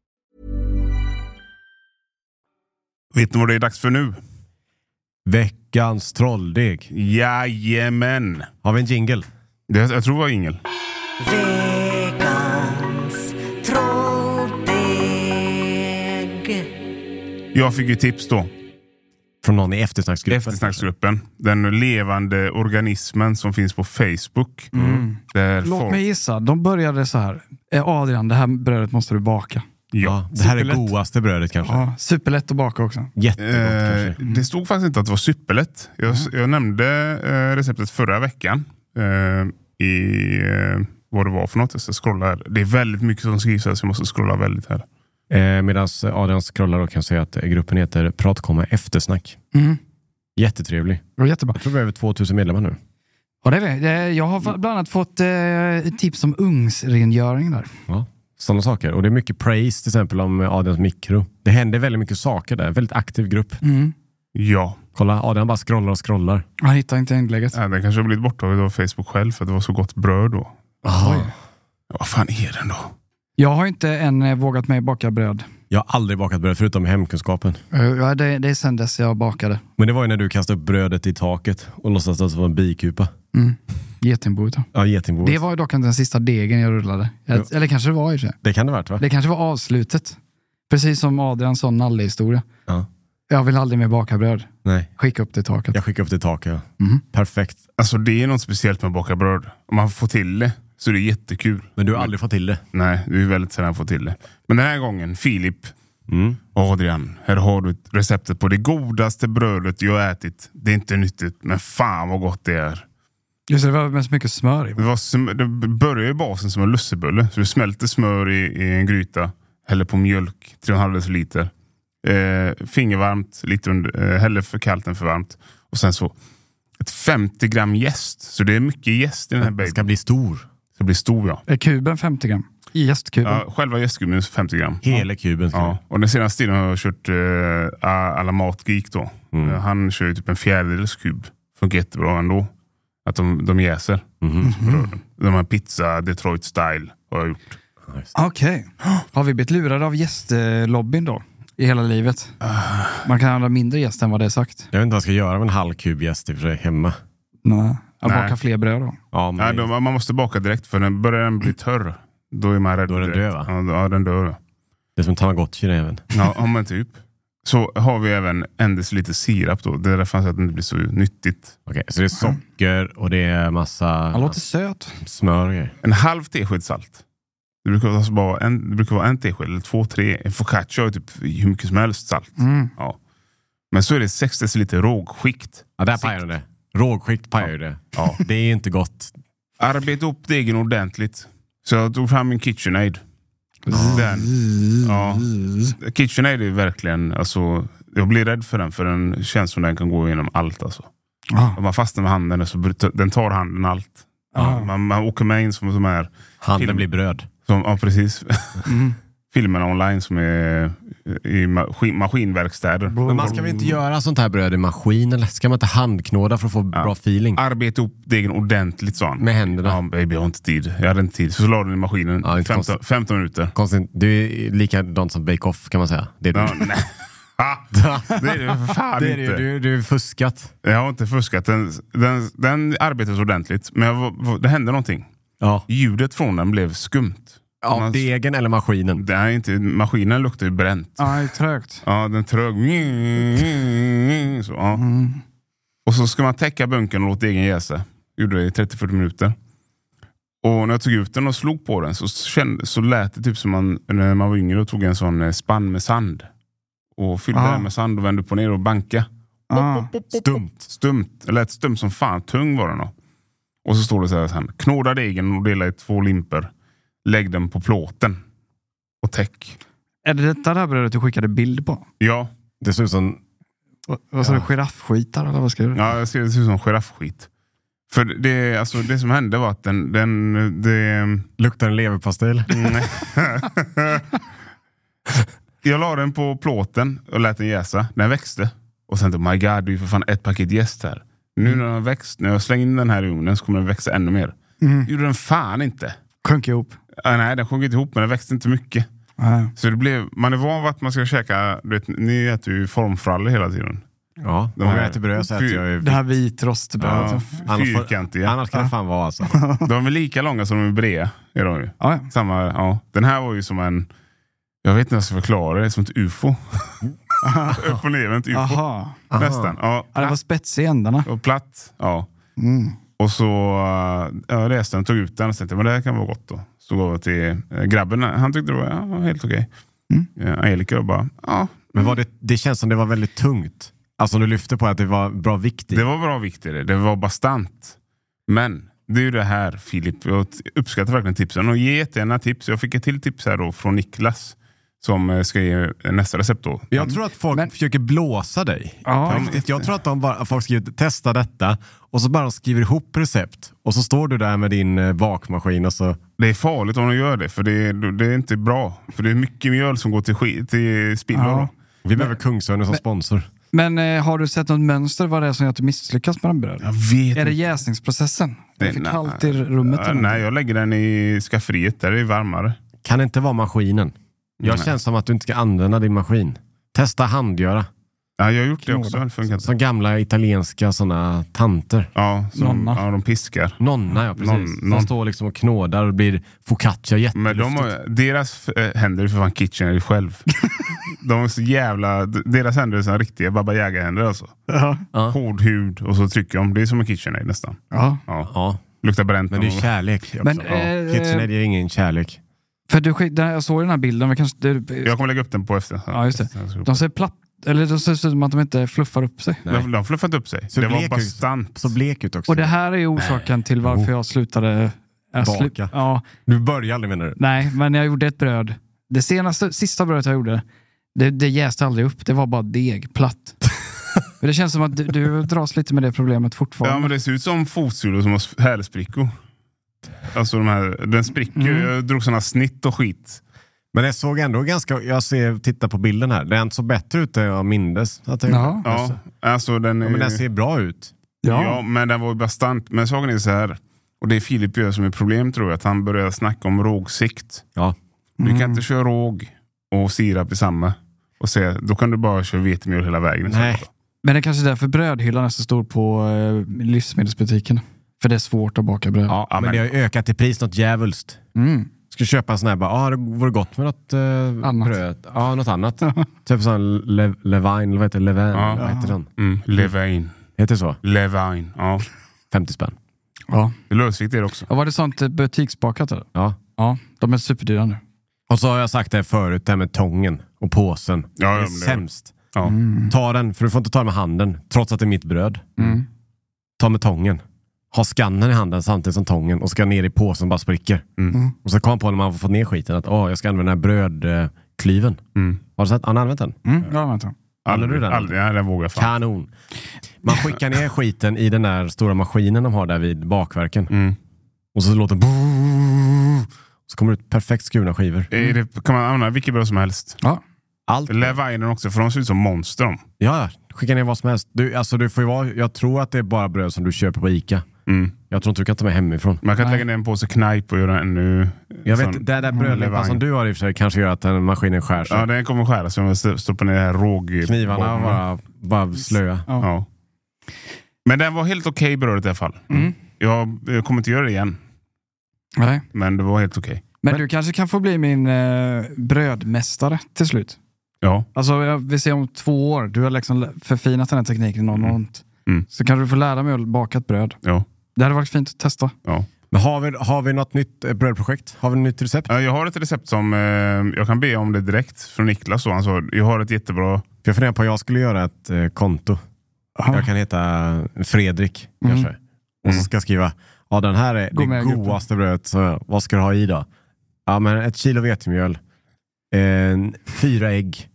A: Vet ni vad det är dags för nu?
B: Veckans trolldeg.
A: Jajamän!
B: Har vi en jingle?
A: Det, jag tror det var Ingel. Jag fick ju tips då,
B: Från någon i eftersnacksgruppen?
A: eftersnacksgruppen. Den levande organismen som finns på Facebook.
B: Mm.
A: Där
C: Låt
A: folk-
C: mig gissa, de började så här. Eh, Adrian, det här brödet måste du baka.
A: Ja.
B: Ja, det här är
C: Superlätt.
B: godaste brödet kanske.
C: Ja, superlätt att baka också.
B: Jättegott
A: Eh,
B: kanske.
A: det stod faktiskt inte att det var superlätt. Jag, jag nämnde eh, receptet förra veckan. Eh, I eh, vad det var för något. Jag ska scrolla här. Det är väldigt mycket som skrivs här så jag måste scrolla väldigt här.
B: Eh, Medan Adrian scrollar och kan säga att eh, gruppen heter Pratkomma Eftersnack.
C: Mm.
B: Jättetrevlig.
C: Det var jättebra.
B: Jag tror vi har över 2000 medlemmar nu.
C: Ja, det är det. Eh, Jag har bland annat fått eh, tips om ugnsrengöring där.
B: Ja. Sådana saker. Och det är mycket praise till exempel om eh, Adrians mikro. Det händer väldigt mycket saker där. Väldigt aktiv grupp.
C: Mm.
A: Ja,
B: Kolla, Adrian bara scrollar och scrollar.
C: Han hittar inte inlägget.
A: äh, den kanske har blivit borttagen av Facebook själv för att det var så gott bröd då. Ja, Vad fan är den då?
C: Jag har inte än eh, vågat mig baka bröd.
B: Jag har aldrig bakat bröd förutom i hemkunskapen.
C: Eh, Ja, det, det är sen dess jag bakade.
B: Men det var ju när du kastade upp brödet i taket och låtsades att det var en bikupa.
C: Getingboet. ja.
B: Ja, getingboet.
C: Det var ju dock inte den sista degen jag rullade. Jag,
B: Ja.
C: Eller kanske det var i och för sig.
B: det kan det ha varit va?
C: Det kanske var avslutet. Precis som Adrian sa nalle-historia.
B: Ja.
C: Jag vill aldrig mer baka bröd.
B: Nej.
C: Skicka upp det i taket.
A: Mhm.
B: Jag skickade upp det i taket. Ja. Perfekt.
A: Alltså det är något speciellt med att baka bröd. Om man får till det Så det är jättekul.
B: Men du har aldrig fått till det.
A: Nej, det är väldigt sällan jag får till det. Men den här gången, Filip
B: Mm.
A: och Adrian, här har du receptet på det godaste brödet jag har ätit. Det är inte nyttigt, men fan vad gott det är.
C: Just det, det var mest mycket smör i.
A: Det, var som, det börjar i basen som en lussebulle. Så du smälter smör i, i en gryta, häller på mjölk, 3,5 liter. Eh, fingervarmt, lite under, eh, häller för kallt än för varmt. Och sen så ett 50 gram jäst. Så det är mycket jäst i den här
B: Den
A: babyn.
B: ska bli stor.
A: Det blir stor ja.
C: Är kuben 50 gram? I Jästkuben?
A: ja själva jästgummin är 50 gram.
B: Hela kuben ska
A: Ja, och den senaste tiden har jag kört eh, alla matgeek då.
B: Mm.
A: Eh, Han kör ju typ en fjärdedels kub. Funkar jättebra ändå. Att de, de jäser.
B: Mhm.
A: Bröden. De här pizza Detroit style har jag gjort.
C: Okej. Har vi blivit lurade av gästlobbyn då? I hela livet? Man kan handla mindre gäst än vad det är sagt.
B: Jag vet inte vad jag ska göra med en halv kub jäst i och för sig hemma.
C: Nej. Jag
A: Nej.
C: bakar fler bröd då.
B: Ja,
A: Nej,
B: men
A: de, man måste baka direkt för den börjar den bli törr. Då är man rädd.
B: Då är den
A: direkt.
B: död, va?
A: Ja, då- Ja, den dör.
B: Det är som tamagotchi det även.
A: Ja, ja, men typ. Så har vi även endast lite sirap då. Det är därför han säger att det inte blir så nyttigt.
B: Okej, så det är
A: Mm.
B: socker och det är massa
C: Han låter söt.
B: smör och grejer.
A: En halv tesked salt. Det brukar, alltså bara vara en, det brukar vara en tesked eller två, tre. En focaccia har ju typ hur mycket som helst salt.
B: Mm.
A: Ja. Men så är det 6 deciliter rågskikt.
B: Ja, där pajar det. Rågskikt pajar ju det.
A: Ja.
B: Det är ju inte gott.
A: Arbeta upp degen ordentligt. Så jag tog fram min KitchenAid. Den. Ja. KitchenAid är ju verkligen, alltså, jag blir rädd för den för den känns som den kan gå igenom allt. Alltså.
B: Ah.
A: Om man fastnar med handen så brut- den tar handen allt.
B: Ah.
A: Man, man åker med in som de här,
B: Handen
A: Film.
B: blir bröd.
A: som, ja precis, filmerna online som är i maskin, maskinverkstäder.
B: Men man ska väl inte göra sånt här bröd i maskin? Eller ska man inte handknåda för att få bra feeling?
A: Arbeta upp degen ordentligt sa han.
B: Med händerna?
A: Ja, baby, jag har inte tid. Jag hade inte tid. Så la den i maskinen
B: Ja, inte
A: 15,
B: konstigt.
A: 15 minuter.
B: Konstigt. Det är likadant som Bake Off kan man säga. Det är
A: Ja,
B: det.
A: nej. Ha! Det är det för fan
B: Det är det
A: inte.
B: ju. Du, du är fuskat.
A: Jag har inte fuskat. Den, den, den arbetades ordentligt, men jag, var- det hände någonting.
B: Ja.
A: Ljudet från den blev skumt.
B: Av
A: Man-
B: degen eller maskinen.
A: Det här är inte, maskinen luktar ju bränt.
C: Ja, det är trögt.
A: Ja, den trög. Så, ja. Och så ska man täcka bunkern och låta degen jäsa. Gjorde det i 30-40 minuter. Och när jag tog ut den och slog på den så, kände, så lät det typ som man, när man var yngre och tog en sån eh, spann med sand. Och fyllde
C: Ja.
A: den med sand och vände upp och ner och banka.
C: Ja.
A: Stumt. Stumt. Det lät stumt som fan. Tung var den då. Och så står det så här sen. Knåda degen och dela i två limper. Lägg den på plåten. Och täck.
C: Är det detta det här brödet du skickade bild på?
A: Ja,
B: Det ser ut som...
C: Vad- Vad sa du? Giraffskitar eller vad skrev du?
A: Ja, jag ser det ser ut som giraffskit. För det, alltså, det som hände var att den... den det,
B: Luktar en leverpastej?
A: nej. jag la den på plåten och lät den jäsa. Den växte. Och sen tänkte jag, "Oh my god, det är ju för fan ett paket jäst här. Nu när den har växt, när jag slänger in den här i ugnen så kommer den växa ännu mer.
B: Mm.
A: gjorde den fan inte.
C: Sjönk ihop.
A: Ah, nej, den sjönk inte ihop, men den växte inte mycket.
B: Ah,
A: Så det blev, man är van vid att man ska käka, du vet, ni äter ju formfrallor hela tiden.
B: Ja.
A: De
B: Om
A: här-
B: jag äter bröd så äter jag ju...
C: Det här
A: Ja,
C: vitrostbrödet. Ja.
A: f-
B: Annars får-
A: Alltså, fyrkantiga.
B: Annars kan det fan vara alltså.
A: De är lika långa som de är breda. Är de ju.
C: Ja, ja.
A: Samma, ja. Den här var ju som en... Jag vet inte hur jag ska förklara det. det. är Som ett ufo. Upp och ner, men ett ufo.
C: Aha.
A: Nästan. Ja.
C: Ja, det var spets i ändarna.
A: Och platt. Ja.
C: Mm.
A: Och så eh, jag läste den, tog ut den och tänkte men det här kan vara gott. då. Så gav jag till eh, grabben. Han tyckte det var ja, helt okej.
C: Mm.
A: Eh, Angelica och bara, ja.
B: Men var det, det känns som det var väldigt tungt. Alltså om du lyfte på att det var bra vikt i.
A: Det var bra vikt i det. Det var bastant. Men det är ju det här Filip. Jag t- uppskattar verkligen tipsen och ge jättegärna tips. Jag fick ett till tips här då från Niklas som eh, ska ge eh, nästa recept då.
B: Jag tror att folk försöker blåsa dig.
C: Ja.
B: På riktigt. jag tror att de bara, att folk skriver testa detta och så bara de skriver ihop recept och så står du där med din eh, bakmaskin och så
A: Det är farligt om de gör det för det är, det är inte bra. För det är mycket mjöl som går till, ski- till spillo.
C: Ja.
A: då.
B: vi behöver Kungsörnen som sponsor.
C: Men eh, har du sett något mönster vad det är som gör att du misslyckas med den brödet?
A: vet
C: Är det jäsningsprocessen? Det är för
A: nej.
C: kallt i rummet?
A: Ja,
C: eller något?
A: nej, jag lägger den i skafferiet där det är varmare.
B: Kan det inte vara maskinen? Jag
A: Nej.
B: känns som att du inte ska använda din maskin. Testa handgöra.
A: Ja, jag har gjort det också. Det funkar inte.
B: Som gamla italienska sådana tanter.
A: Ja, som,
C: Nonna.
A: ja, de piskar.
B: Nonna ja, precis.
A: Någon- någon-
B: Som står liksom och knådar och blir focaccia
A: Men
B: jätteluftigt.
A: de har, deras eh, händer är för fan KitchenAid själv. de är så jävla, d- deras händer är som riktiga Baba Yaga-händer alltså.
C: Ja.
A: Hård hud och så trycker de. Det är som en KitchenAid nästan.
C: Ja.
A: Ja.
B: Ja,
A: Luktar bränt.
B: Men det är
A: någon gång.
B: kärlek.
C: Men,
B: ja.
C: eh,
B: KitchenAid är ingen kärlek.
C: För du skick, den, jag såg den här bilden, men kanske... Det,
A: Jag kommer lägga upp den på efter.
C: Ja, just de ser platt... Eller de ser ut som att de inte fluffar upp sig.
B: Nej.
A: De, de fluffade upp sig.
B: Så
A: det var
B: blek ut.
A: bastant.
B: Så blek ut också.
C: Och det här är orsaken till
A: Oh.
C: varför jag slutade... Jag
B: Baka.
C: slu- ja,
B: Du börjar aldrig menar du?
C: nej, men jag gjorde ett bröd. Det senaste, sista brödet jag gjorde, det, det jäste aldrig upp. Det var bara deg, platt. men det känns som att du, du dras lite med det problemet fortfarande.
A: Ja, men det ser ut som fotsulor som har härsprickor. Alltså de här, den spricker.
C: Mm.
A: Jag drog sådana snitt och skit.
B: Men jag såg ändå ganska... Jag ser, tittar på bilden här. Den såg bättre ut än jag mindes. Att jag
C: Ja.
B: gjorde.
A: Ja, alltså den, är,
B: ja, men den ser bra ut.
A: ja. men den var ju bastant. Men saken är så här, och det är Filip gör som är problem tror jag, att han börjar snacka om rågsikt.
B: Ja.
A: Du
B: Mm.
A: kan inte köra råg och sirap i samma. Och säga, då kan du bara köra vetemjöl hela vägen.
B: Nej.
C: Men det är kanske är därför brödhyllan är så stor på eh, livsmedelsbutiken. För det är svårt att baka bröd.
B: Ja, men,
A: men-
B: det har ju ökat i pris något djävulskt.
C: Mm.
B: Ska köpa en sån här, bara, ah, det vore gott med något eh,
C: Annat.
B: bröd. Ja, något annat. typ sån Le- Levine, eller vad heter det? Levin,
A: Ja.
B: vad heter den?
A: Mm, Levine.
B: Heter det så?
A: Levine. Ja.
B: 50 spänn.
C: Ja.
A: Det är lösvikt det också.
C: Ja, var det sånt eh, butiksbakat? Eller?
B: Ja.
C: Ja, de är superdyra nu.
B: Och så har jag sagt det här förut, det här med tången och påsen.
A: Ja, ja,
B: det är
A: men det-
B: sämst.
A: Ja.
B: Ta den, för du får inte ta den med handen, trots att det är mitt bröd.
C: Mm.
B: Ta med tången. Ha skannen i handen samtidigt som tången och ska ner i påsen och bara spricker.
A: Mm.
C: Mm.
B: Och så kom jag på när man fått ner skiten att åh, jag ska använda den här brödklyven.
A: Mm.
B: Har du sett? Har ni använt den?
C: Mm. Ja, vänta.
B: Använder du den?
A: Aldrig, nej, den vågar jag fan.
B: Kanon. Man skickar ner skiten i den där stora maskinen de har där vid bakverken.
A: Mm.
B: Och så låter den... Så kommer det ut perfekt skurna skivor.
A: Är Eh, det, kan man använda vilket bröd som helst?
C: Ja.
B: Allt.
A: Levinen också, för de ser ut som monster. de.
B: Ja, skicka ner vad som helst. Du, alltså, du får ju vara, jag tror att det är bara bröd som du köper på Ica.
A: Mm.
B: Jag tror inte du kan ta med hemifrån.
A: Man kan
C: Nej.
A: lägga ner en påse knajp och göra en nu.
B: Jag
A: sån-
B: vet, det där brödlimpan
A: Levine.
B: som du har i och för sig kanske gör att den maskinen skär sig.
A: Ja, den kommer skära sig om jag st- stoppar ner det här råg...
B: Knivarna bara, bara slöa.
A: Ja. Men den var helt okej brödet i alla fall.
C: Mm.
A: Jag, jag kommer inte göra det igen,
C: Nej.
A: men det var helt okej.
C: Men du kanske kan få bli min eh, brödmästare till slut.
A: Ja.
C: Alltså, jag vill se om två år. Du har liksom lä- förfinat den här tekniken enormt.
A: Mm.
C: Så kanske du får lära mig att baka ett bröd.
A: Ja.
C: Det hade varit fint att testa.
A: Ja.
B: Men har vi, har vi något nytt eh, brödprojekt? Har vi ett nytt recept?
A: Ja, Jag har ett recept som eh, jag kan be om det direkt från Niklas. Och han sa jag har ett jättebra...
B: För jag funderar på att jag skulle göra ett eh, konto. Jag kan heta Fredrik kanske. Och
A: Mm.
B: så ska jag skriva, ja den här är
C: Mm. Gå med i
B: det
C: gruppen.
B: godaste brödet, så vad ska du ha i då? Ja men ett kilo vetemjöl, en, fyra ägg,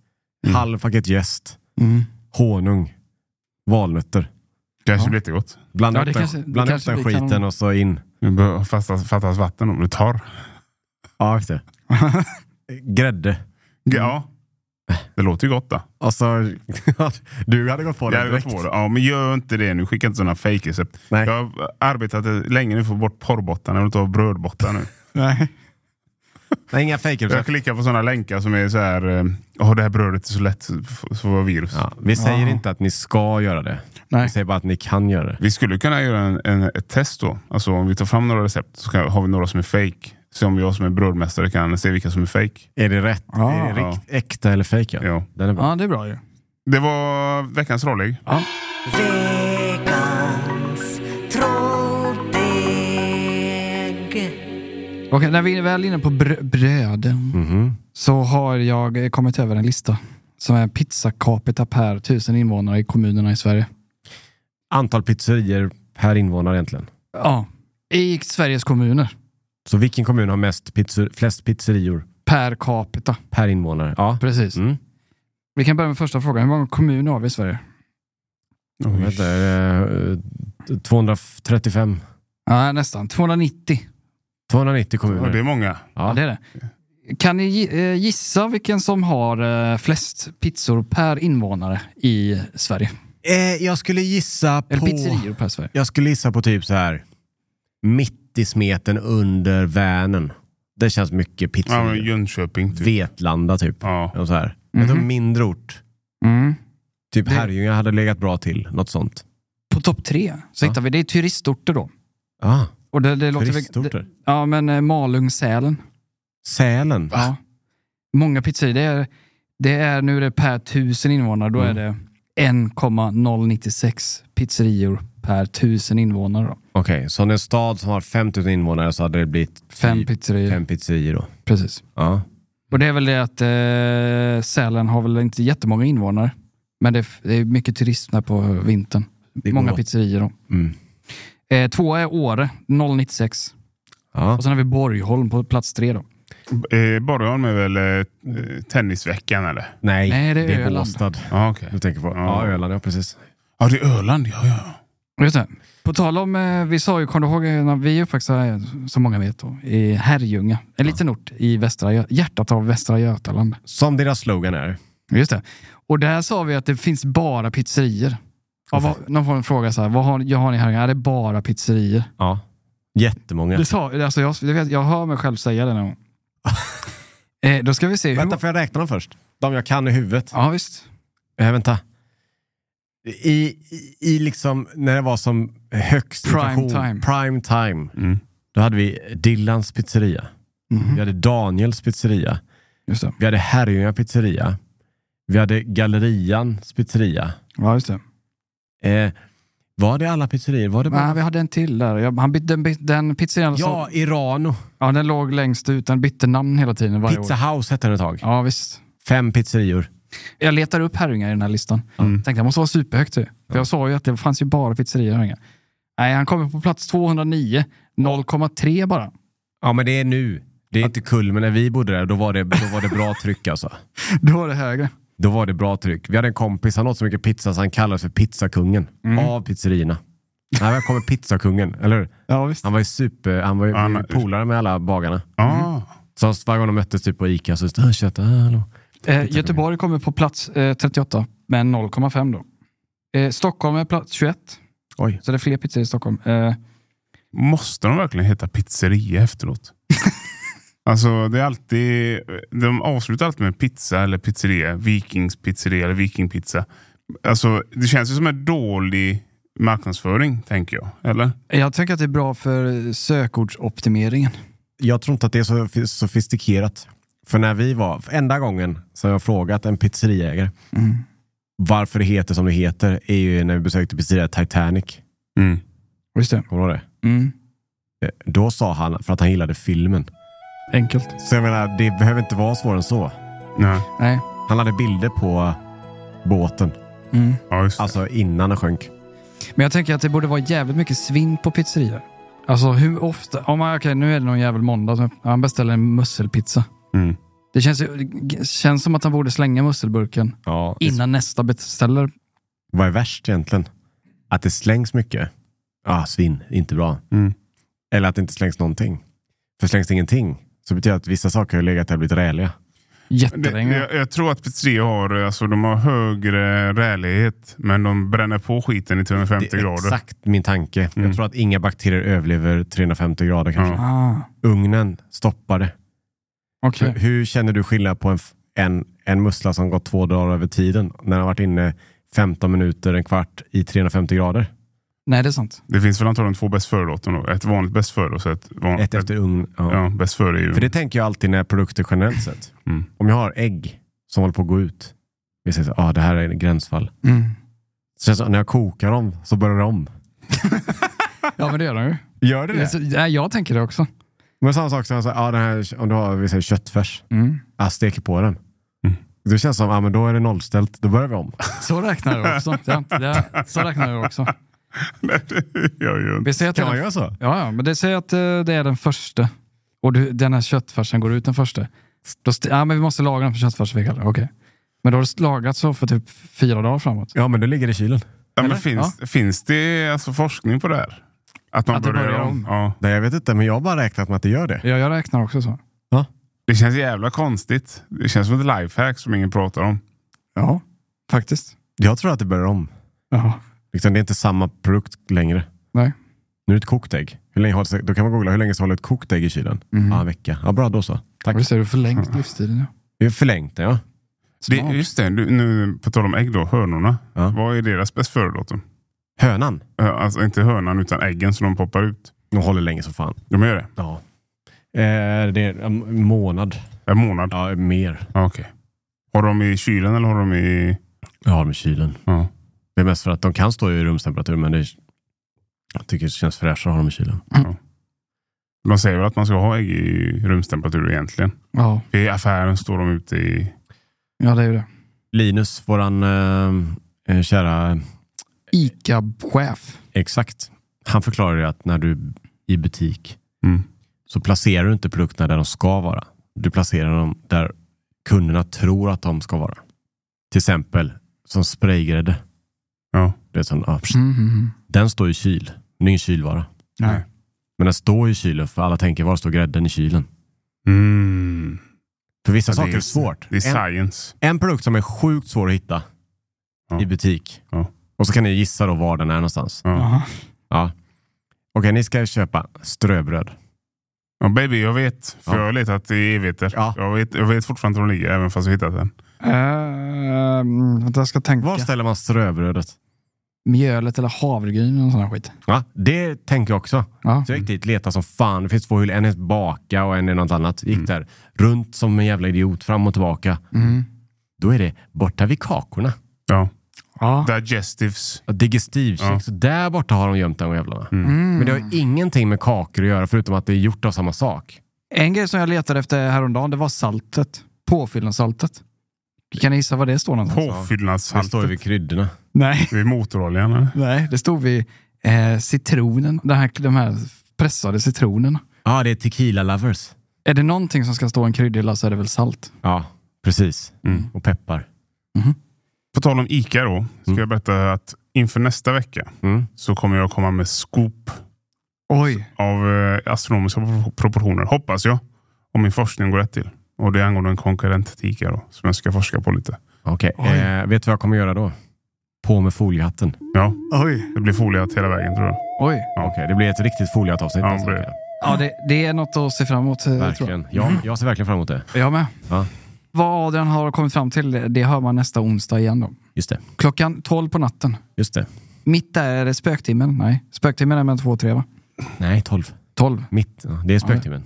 A: Mm.
B: halv paket jäst,
C: Mm.
B: honung, valnötter.
A: Kanske
C: Ja.
A: blir jättegott.
B: Blanda
C: Ja,
B: upp
C: det
B: den,
C: kanske- det
B: blanda upp
C: kanske
B: den
C: vi kan-
B: skiten och så in.
A: Nu behöver- fattas, fattas vatten om du tar.
B: Ja, just det. Grädde.
A: Ja. Det låter ju gott då.
B: Och så, du hade gått på
A: Det
B: det
A: hade gått
B: direkt.
A: på det. Ja, men gör inte det nu. Skicka inte sådana fejkrecept.
B: Nej.
A: Jag har arbetat länge nu för att få bort porrbottarna. Jag vill inte ha brödbottar nu.
C: Nej.
B: Nej, inga fejkrecept.
A: Jag klickar på sådana länkar som är så här. eh, Åh, det här brödet är så lätt så var virus.
B: Ja, vi säger
A: Ah.
C: Ja.
B: inte att ni ska göra det. Vi
C: Nej.
B: säger bara att ni kan göra det.
A: Vi skulle kunna göra en, en, ett test då. Alltså om vi tar fram några recept så kan, har vi några som är fake. Se om jag som är brödmästare kan se vilka som är fake.
B: Är det rätt?
A: Ah.
C: Ja.
B: är det rikt, äkta eller fejk? Ja.
A: Ja.
B: Den är bra.
C: Ja, det är bra ju.
A: Det var veckans rollägg.
C: Okej, när vi är väl inne på br- bröd
B: Mhm.
C: så har jag eh, kommit över en lista som är en pizza capita per tusen invånare i kommunerna i Sverige.
B: Antal pizzerior per invånare egentligen.
C: Ja, i Sveriges kommuner
B: Så vilken kommun har mest pizzer, flest pizzerior
C: per capita.
B: per invånare? Ja.
C: Precis.
B: Mm.
C: Vi kan börja med första frågan. Hur många kommuner har vi i Sverige?
B: Jag vet inte, är det, eh, 235.
C: Ja, nästan. 290.
B: 290
A: Ja,
B: kommuner.
A: det är många.
C: Ja, det
B: Ja.
C: är det. Kan ni gi- eh, gissa vilken som har eh, flest pizzor per invånare i Sverige?
B: Eh, jag skulle gissa
C: Eller
B: på...
C: pizzerior per Sverige.
B: Jag skulle gissa på typ så här mitt i smeten under Vänern. Det känns mycket
A: Ja, men
B: pizzerior.
A: Jönköping. Typ.
B: Vetlanda typ.
A: Ja.
B: Eller Så här. Jag tror
C: Mhm.
B: mindre ort.
C: Mm.
B: Typ
C: Det-
B: Herrljunga hade legat bra till. Något sånt.
C: På topp tre så
B: Ja.
C: hittar vi, det är turistorter då.
B: Ah,
C: Och det, det låter väl- det-
B: turistorter.
C: Ja, men eh, Malung, Sälen.
B: Sälen.
C: Ja. Många pizzerior. Det är, det är, Mm. nu är det per tusen invånare, då är det 1,096 pizzerior per tusen invånare. Då.
B: Okej, så om det är en stad som har 5000 invånare så hade det blivit
C: Fem
B: typ
C: pizzerior.
B: fem pizzerior då?
C: Precis.
B: Ja.
C: Och det är väl det att eh, Sälen har väl inte jättemånga invånare. Men det, det är mycket turism där på vintern.
B: går
C: Många
B: åt.
C: pizzerior. Då.
B: Mm.
C: Eh, tvåa är Åre, 096.
B: ja.
C: Och sen har vi Borgholm på plats tre. Då.
A: Eh, Borgholm är väl eh, tennisveckan eller?
B: Nej,
C: Nej, det är Öland.
B: Båstad
A: Ja, okej.
B: du tänker på. Ja, Öland, ja precis.
A: Ja, det är Öland. Ja, ja.
C: Just det. På tal om, eh, vi sa ju, kommer du ihåg eh, när vi uppvaktade, som många vet, då, i Herrljunga. En liten ort i västra, Gö- hjärtat av Västra Götaland.
B: Som deras slogan är.
C: Just det. Och där sa vi att det finns bara pizzerior. Ja, vad, någon får en fråga så här, vad har, jag har ni här? Ja, det är bara pizzerior.
B: Ja. Jättemånga.
C: Det sa, alltså jag, det vet, jag hör mig själv säga det någon gång. eh, då ska vi se. Hur,
B: Vänta, får jag räkna dem först? De jag kan i huvudet.
C: Ja, visst.
B: Eh, vänta. I, i, I liksom, när det var som högst
C: Prime
B: inflation,
C: time.
B: prime time,
A: Mm.
B: då hade vi Dillans pizzeria. Vi hade Daniels pizzeria.
C: Just det.
B: Vi hade Herrljunga pizzeria. Vi hade Gallerians pizzeria.
C: Ja, just det.
B: Eh, var det alla pizzerior? Var det bara...
C: Nej, vi hade en till där. Jag, han bytte, den, byt- den pizzerian
B: Ja,
C: som,
B: Irano.
C: ja, den låg längst ut. Den bytte namn hela tiden varje
B: Pizza
C: år.
B: House hette den ett tag.
C: Ja, visst.
B: Fem pizzerior.
C: Jag letar upp Herrljunga i den här listan. Tänkte jag måste vara superhögt. ju. För jag sa ju att det fanns ju bara pizzerior i Herrljunga. Nej, han kommer på plats 209. 0,3 bara.
B: Ja, men det är nu. Det är inte kul, men när vi bodde där, då var det, då var det bra tryck alltså.
C: Då var det högre.
B: Då var det bra tryck. Vi hade en kompis, han åt så mycket pizza så han kallades för pizzakungen.
C: Mm.
B: Av pizzerierna. Nej, här kommer pizzakungen, eller hur?
C: Ja, visst.
B: Han var ju super, han var ju
A: Han-
B: polare med alla bagarna. Mm.
A: Ah.
B: Så varje gång de möttes typ på Ica så sa kött, hallå.
C: Eh, Göteborg kommer på plats eh, 38 med 0,5 då. Eh, Stockholm är plats 21.
B: Oj.
C: Så det är fler pizzor i Stockholm. Eh,
A: Måste de verkligen heta pizzeria efteråt? alltså, det är alltid... De avslutar alltid med pizza eller pizzeria. Vikings pizzeria eller vikingpizza. Alltså, det känns ju som en dålig marknadsföring, tänker jag. Eller?
C: jag tänker att det är bra för sökordsoptimeringen.
B: Jag tror inte att det är så sof- sofistikerat. För när vi var, för enda gången som jag frågat en pizzeriägare varför det heter som det heter är ju när vi besökte pizzeria Titanic.
A: Mm.
C: Just det.
B: Kommer du ihåg
C: Mm.
B: det? Eh, Då sa han, för att han gillade filmen.
C: Enkelt.
B: Så jag menar, det behöver inte vara svårare än så.
A: Nej.
C: Nej.
B: Han hade bilder på båten.
C: Mm.
A: Ja, just det.
B: Alltså innan den sjönk.
C: Men jag tänker att det borde vara jävligt mycket svinn på pizzerior. Alltså hur ofta? Om man, okej, nu är det någon jävel måndag. som- Han beställer en musselpizza.
A: Mm.
C: Det känns, ju- det känns som att han borde slänga musselburken
B: Ja.
C: innan nästa beställer.
B: Vad är värst egentligen? Att det slängs mycket? Ah, svin. Inte bra.
A: Mm.
B: Eller att det inte slängs någonting. För slängs det ingenting så betyder det att vissa saker har legat där och blivit räliga.
A: Det,
C: Jättelänge.
A: jag, jag tror att pizzeria har, alltså, de har högre rälighet, men de bränner på skiten i 350
B: det är
A: grader.
B: exakt min tanke. Jag tror att inga bakterier överlever 350 grader kanske.
A: Ja.
C: Ah,
B: Ugnen stoppar det.
C: okej.
B: Hur, hur känner du skillnad på en, f- en, en mussla som gått två dagar över tiden när den har varit inne 15 minuter, en kvart i 350 grader?
C: Nej, det är sant.
A: Det finns väl antagligen två bäst före-datum då. Ett vanligt bäst före och så ett vanligt...
B: Ett efter ugn. Ja.
A: Ja, bäst före är ju...
B: För det tänker jag alltid när produkter generellt sett.
A: Mm.
B: Om jag har ägg som håller på att gå ut. Vi säger att ah, det här är en gränsfall.
C: Mm.
B: Så känns det som att när jag kokar dem så börjar de.
C: Ja, men det gör han ju.
B: Gör det
C: Jag, så, nej, jag tänker det också.
B: Men samma sak som jag sa, ah, den här, om du har vi säger, köttfärs.
C: Mm.
B: Jag steker på den.
A: Mm.
B: Det känns som att ah, men då är det nollställt. Då börjar vi om.
C: Så räknar jag också. Det, är inte- det, så räknar jag också.
A: jag gör inte.
C: Vi säger att det,
B: Kan man
C: är den,
B: göra så?
C: ja, ja, men det säger att eh, det är den första. Och du, den här köttfärsen går ut den första. Då st- ja, men vi måste laga den för köttfärsveckan. Okej. Men då har det lagats så för typ fyra dagar framåt.
B: Ja, men då ligger det i kylen.
A: Ja, men
C: Eller?
A: finns, finns det alltså forskning på det här? Att man
C: Att det
A: börjar,
C: börjar
A: om?
C: om.
A: Ja.
B: Nej, jag vet inte, men jag har bara räknat med att det gör det.
C: Ja, jag räknar också så.
A: Det känns jävla konstigt. Det känns som ett lifehack som ingen pratar om.
C: Ja, faktiskt.
B: Jag tror att det börjar om.
C: Ja.
B: Liksom, det är inte samma produkt längre.
C: Nej.
B: Nu är det ett kokt ägg. Hur länge håller, då kan man googla hur länge så håller ett kokt ägg i kylen?
C: Mhm.
B: Ja, en vecka. Ja, bra, då så. Tack.
C: Och då ser du förlängt livstiden. Ja.
B: Det är förlängt, ja.
A: Det,
C: Smart.
A: just det, du, nu på tal om ägg då, hönorna.
B: Ja.
A: Vad är deras bäst före-datum?
B: Hönan.
A: Eh, Alltså inte hönan utan äggen som de poppar ut.
B: De håller länge som fan.
A: De gör det?
B: Ja. Eh, det är en månad.
A: En månad?
B: Ja, mer.
A: Ja, okej. Har de i kylen eller har de i...
B: Jag har dem i kylen.
A: Ja.
B: Det är mest för att de kan stå i rumstemperatur, men det är, Jag tycker det känns fräschare att ha dem i kylen.
A: Man säger väl att man ska ha ägg i rumstemperatur egentligen.
C: Ja,
A: I affären står de ute i...
C: ja det är ju det.
B: Linus, våran eh, eh, kära
C: ICA-chef.
B: Exakt. Han förklarar ju att när du i butik
A: Mm.
B: så placerar du inte produkterna där de ska vara. Du placerar dem där kunderna tror att de ska vara. Till exempel som spraygrädde.
A: Ja.
B: Det är sån, ah, pst.
C: Mm, mm, mm.
B: Den står i kyl. Den är ingen kylvara.
C: Nej.
B: Men den står i kylen för alla tänker, var står grädden i kylen?
A: Mm.
B: För vissa
A: Ja, det
B: saker är,
A: är-
B: svårt.
A: Det är
B: En,
A: science.
B: en produkt som är sjukt svår att hitta
A: Ja.
B: i butik.
A: Ja.
B: Och så kan ni gissa då var den är någonstans.
A: Ja.
C: Jaha.
B: Ja. Okej, ni ska köpa ströbröd.
A: Ja, baby, jag vet. För
B: Ja.
A: jag har letat i evigheter.
B: Ja.
A: Jag, vet, jag vet fortfarande var de ligger, även fast jag hittat den.
C: Ehm, vänta, jag ska tänka.
B: Var ställer man ströbrödet?
C: Mjölet eller havregryn och sån här skit.
B: Ja, det tänker jag också.
C: Ja.
B: Så jag gick dit, letade som fan. Det finns två hyllor. En är baka och en är något annat. Gick där runt som en jävla idiot, fram och tillbaka.
C: Mm.
B: Då är det borta vid kakorna.
A: Ja.
C: Ja.
A: Digestives.
B: Ja, Mm. Digestivkex. Där borta har de gömt de jävlarna. Men det har ju ingenting med kakor att göra förutom att det är gjort av samma sak.
C: En grej som jag letade efter häromdagen, det var saltet. Påfyllnadssaltet. Kan ni gissa var det står någonstans?
B: Det står ju
A: Påfyllnadssaltet.
B: vid kryddorna.
C: Nej.
A: Det är motoroljan. eller?
C: Nej, det stod vid eh, citronen. Den här, de här pressade citronerna.
B: Ja, det är tequila lovers.
C: Är det någonting som ska stå i en kryddhylla så är det väl salt.
B: Ja, precis. Och peppar.
A: På tal om ICA då, ska jag berätta att inför nästa vecka
B: Mm.
A: så kommer jag komma med scoop
C: Oj.
A: av eh, astronomiska pro- proportioner, hoppas jag. Om min forskning går rätt till. Och det är angående en konkurrent till ICA då, som jag ska forska på lite.
B: Okej, eh, vet du vad jag kommer göra då? På med foliehatten.
A: Ja,
C: Oj.
A: det blir foliehatt hela vägen tror jag.
C: Oj.
B: Okej, det blir ett riktigt foliehattavsnitt.
A: Ja,
B: nästa
A: det-
B: vecka.
C: Ja, det, det är något att se fram emot. eh, Tror jag.
B: Verkligen. Ja, jag ser verkligen fram emot det.
C: jag med.
B: Ja.
C: Vad Adrian har kommit fram till, det hör man nästa onsdag igen. Då.
B: Just det.
C: Klockan 12 på natten.
B: Just det.
C: Mitt där är det spöktimmen. Nej, spöktimmen är mellan två och tre va?
B: Nej, 12.
C: 12.
B: Mitt. Ja, det är spöktimmen.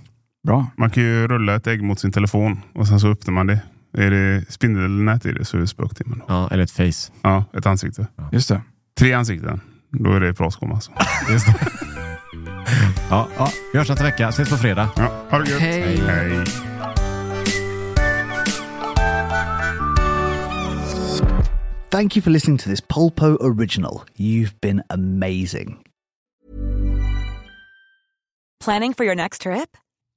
C: Bra.
A: Man kan ju rulla ett ägg mot sin telefon och sen så öppnar man det. Är det spindelnät i det så är det spöktimmen. då.
B: Ja, eller ett face.
A: Ja, ett ansikte.
C: Just det.
A: Tre ansikten. Då är det pratskåm alltså.
B: Ja, ja. Vi hörs nästa vecka. Ses på fredag.
A: Ja, ha det gött.
C: Hej.
A: Hej.
H: Thank you for listening to this Polpo original. You've been amazing.
I: Planning for your next trip?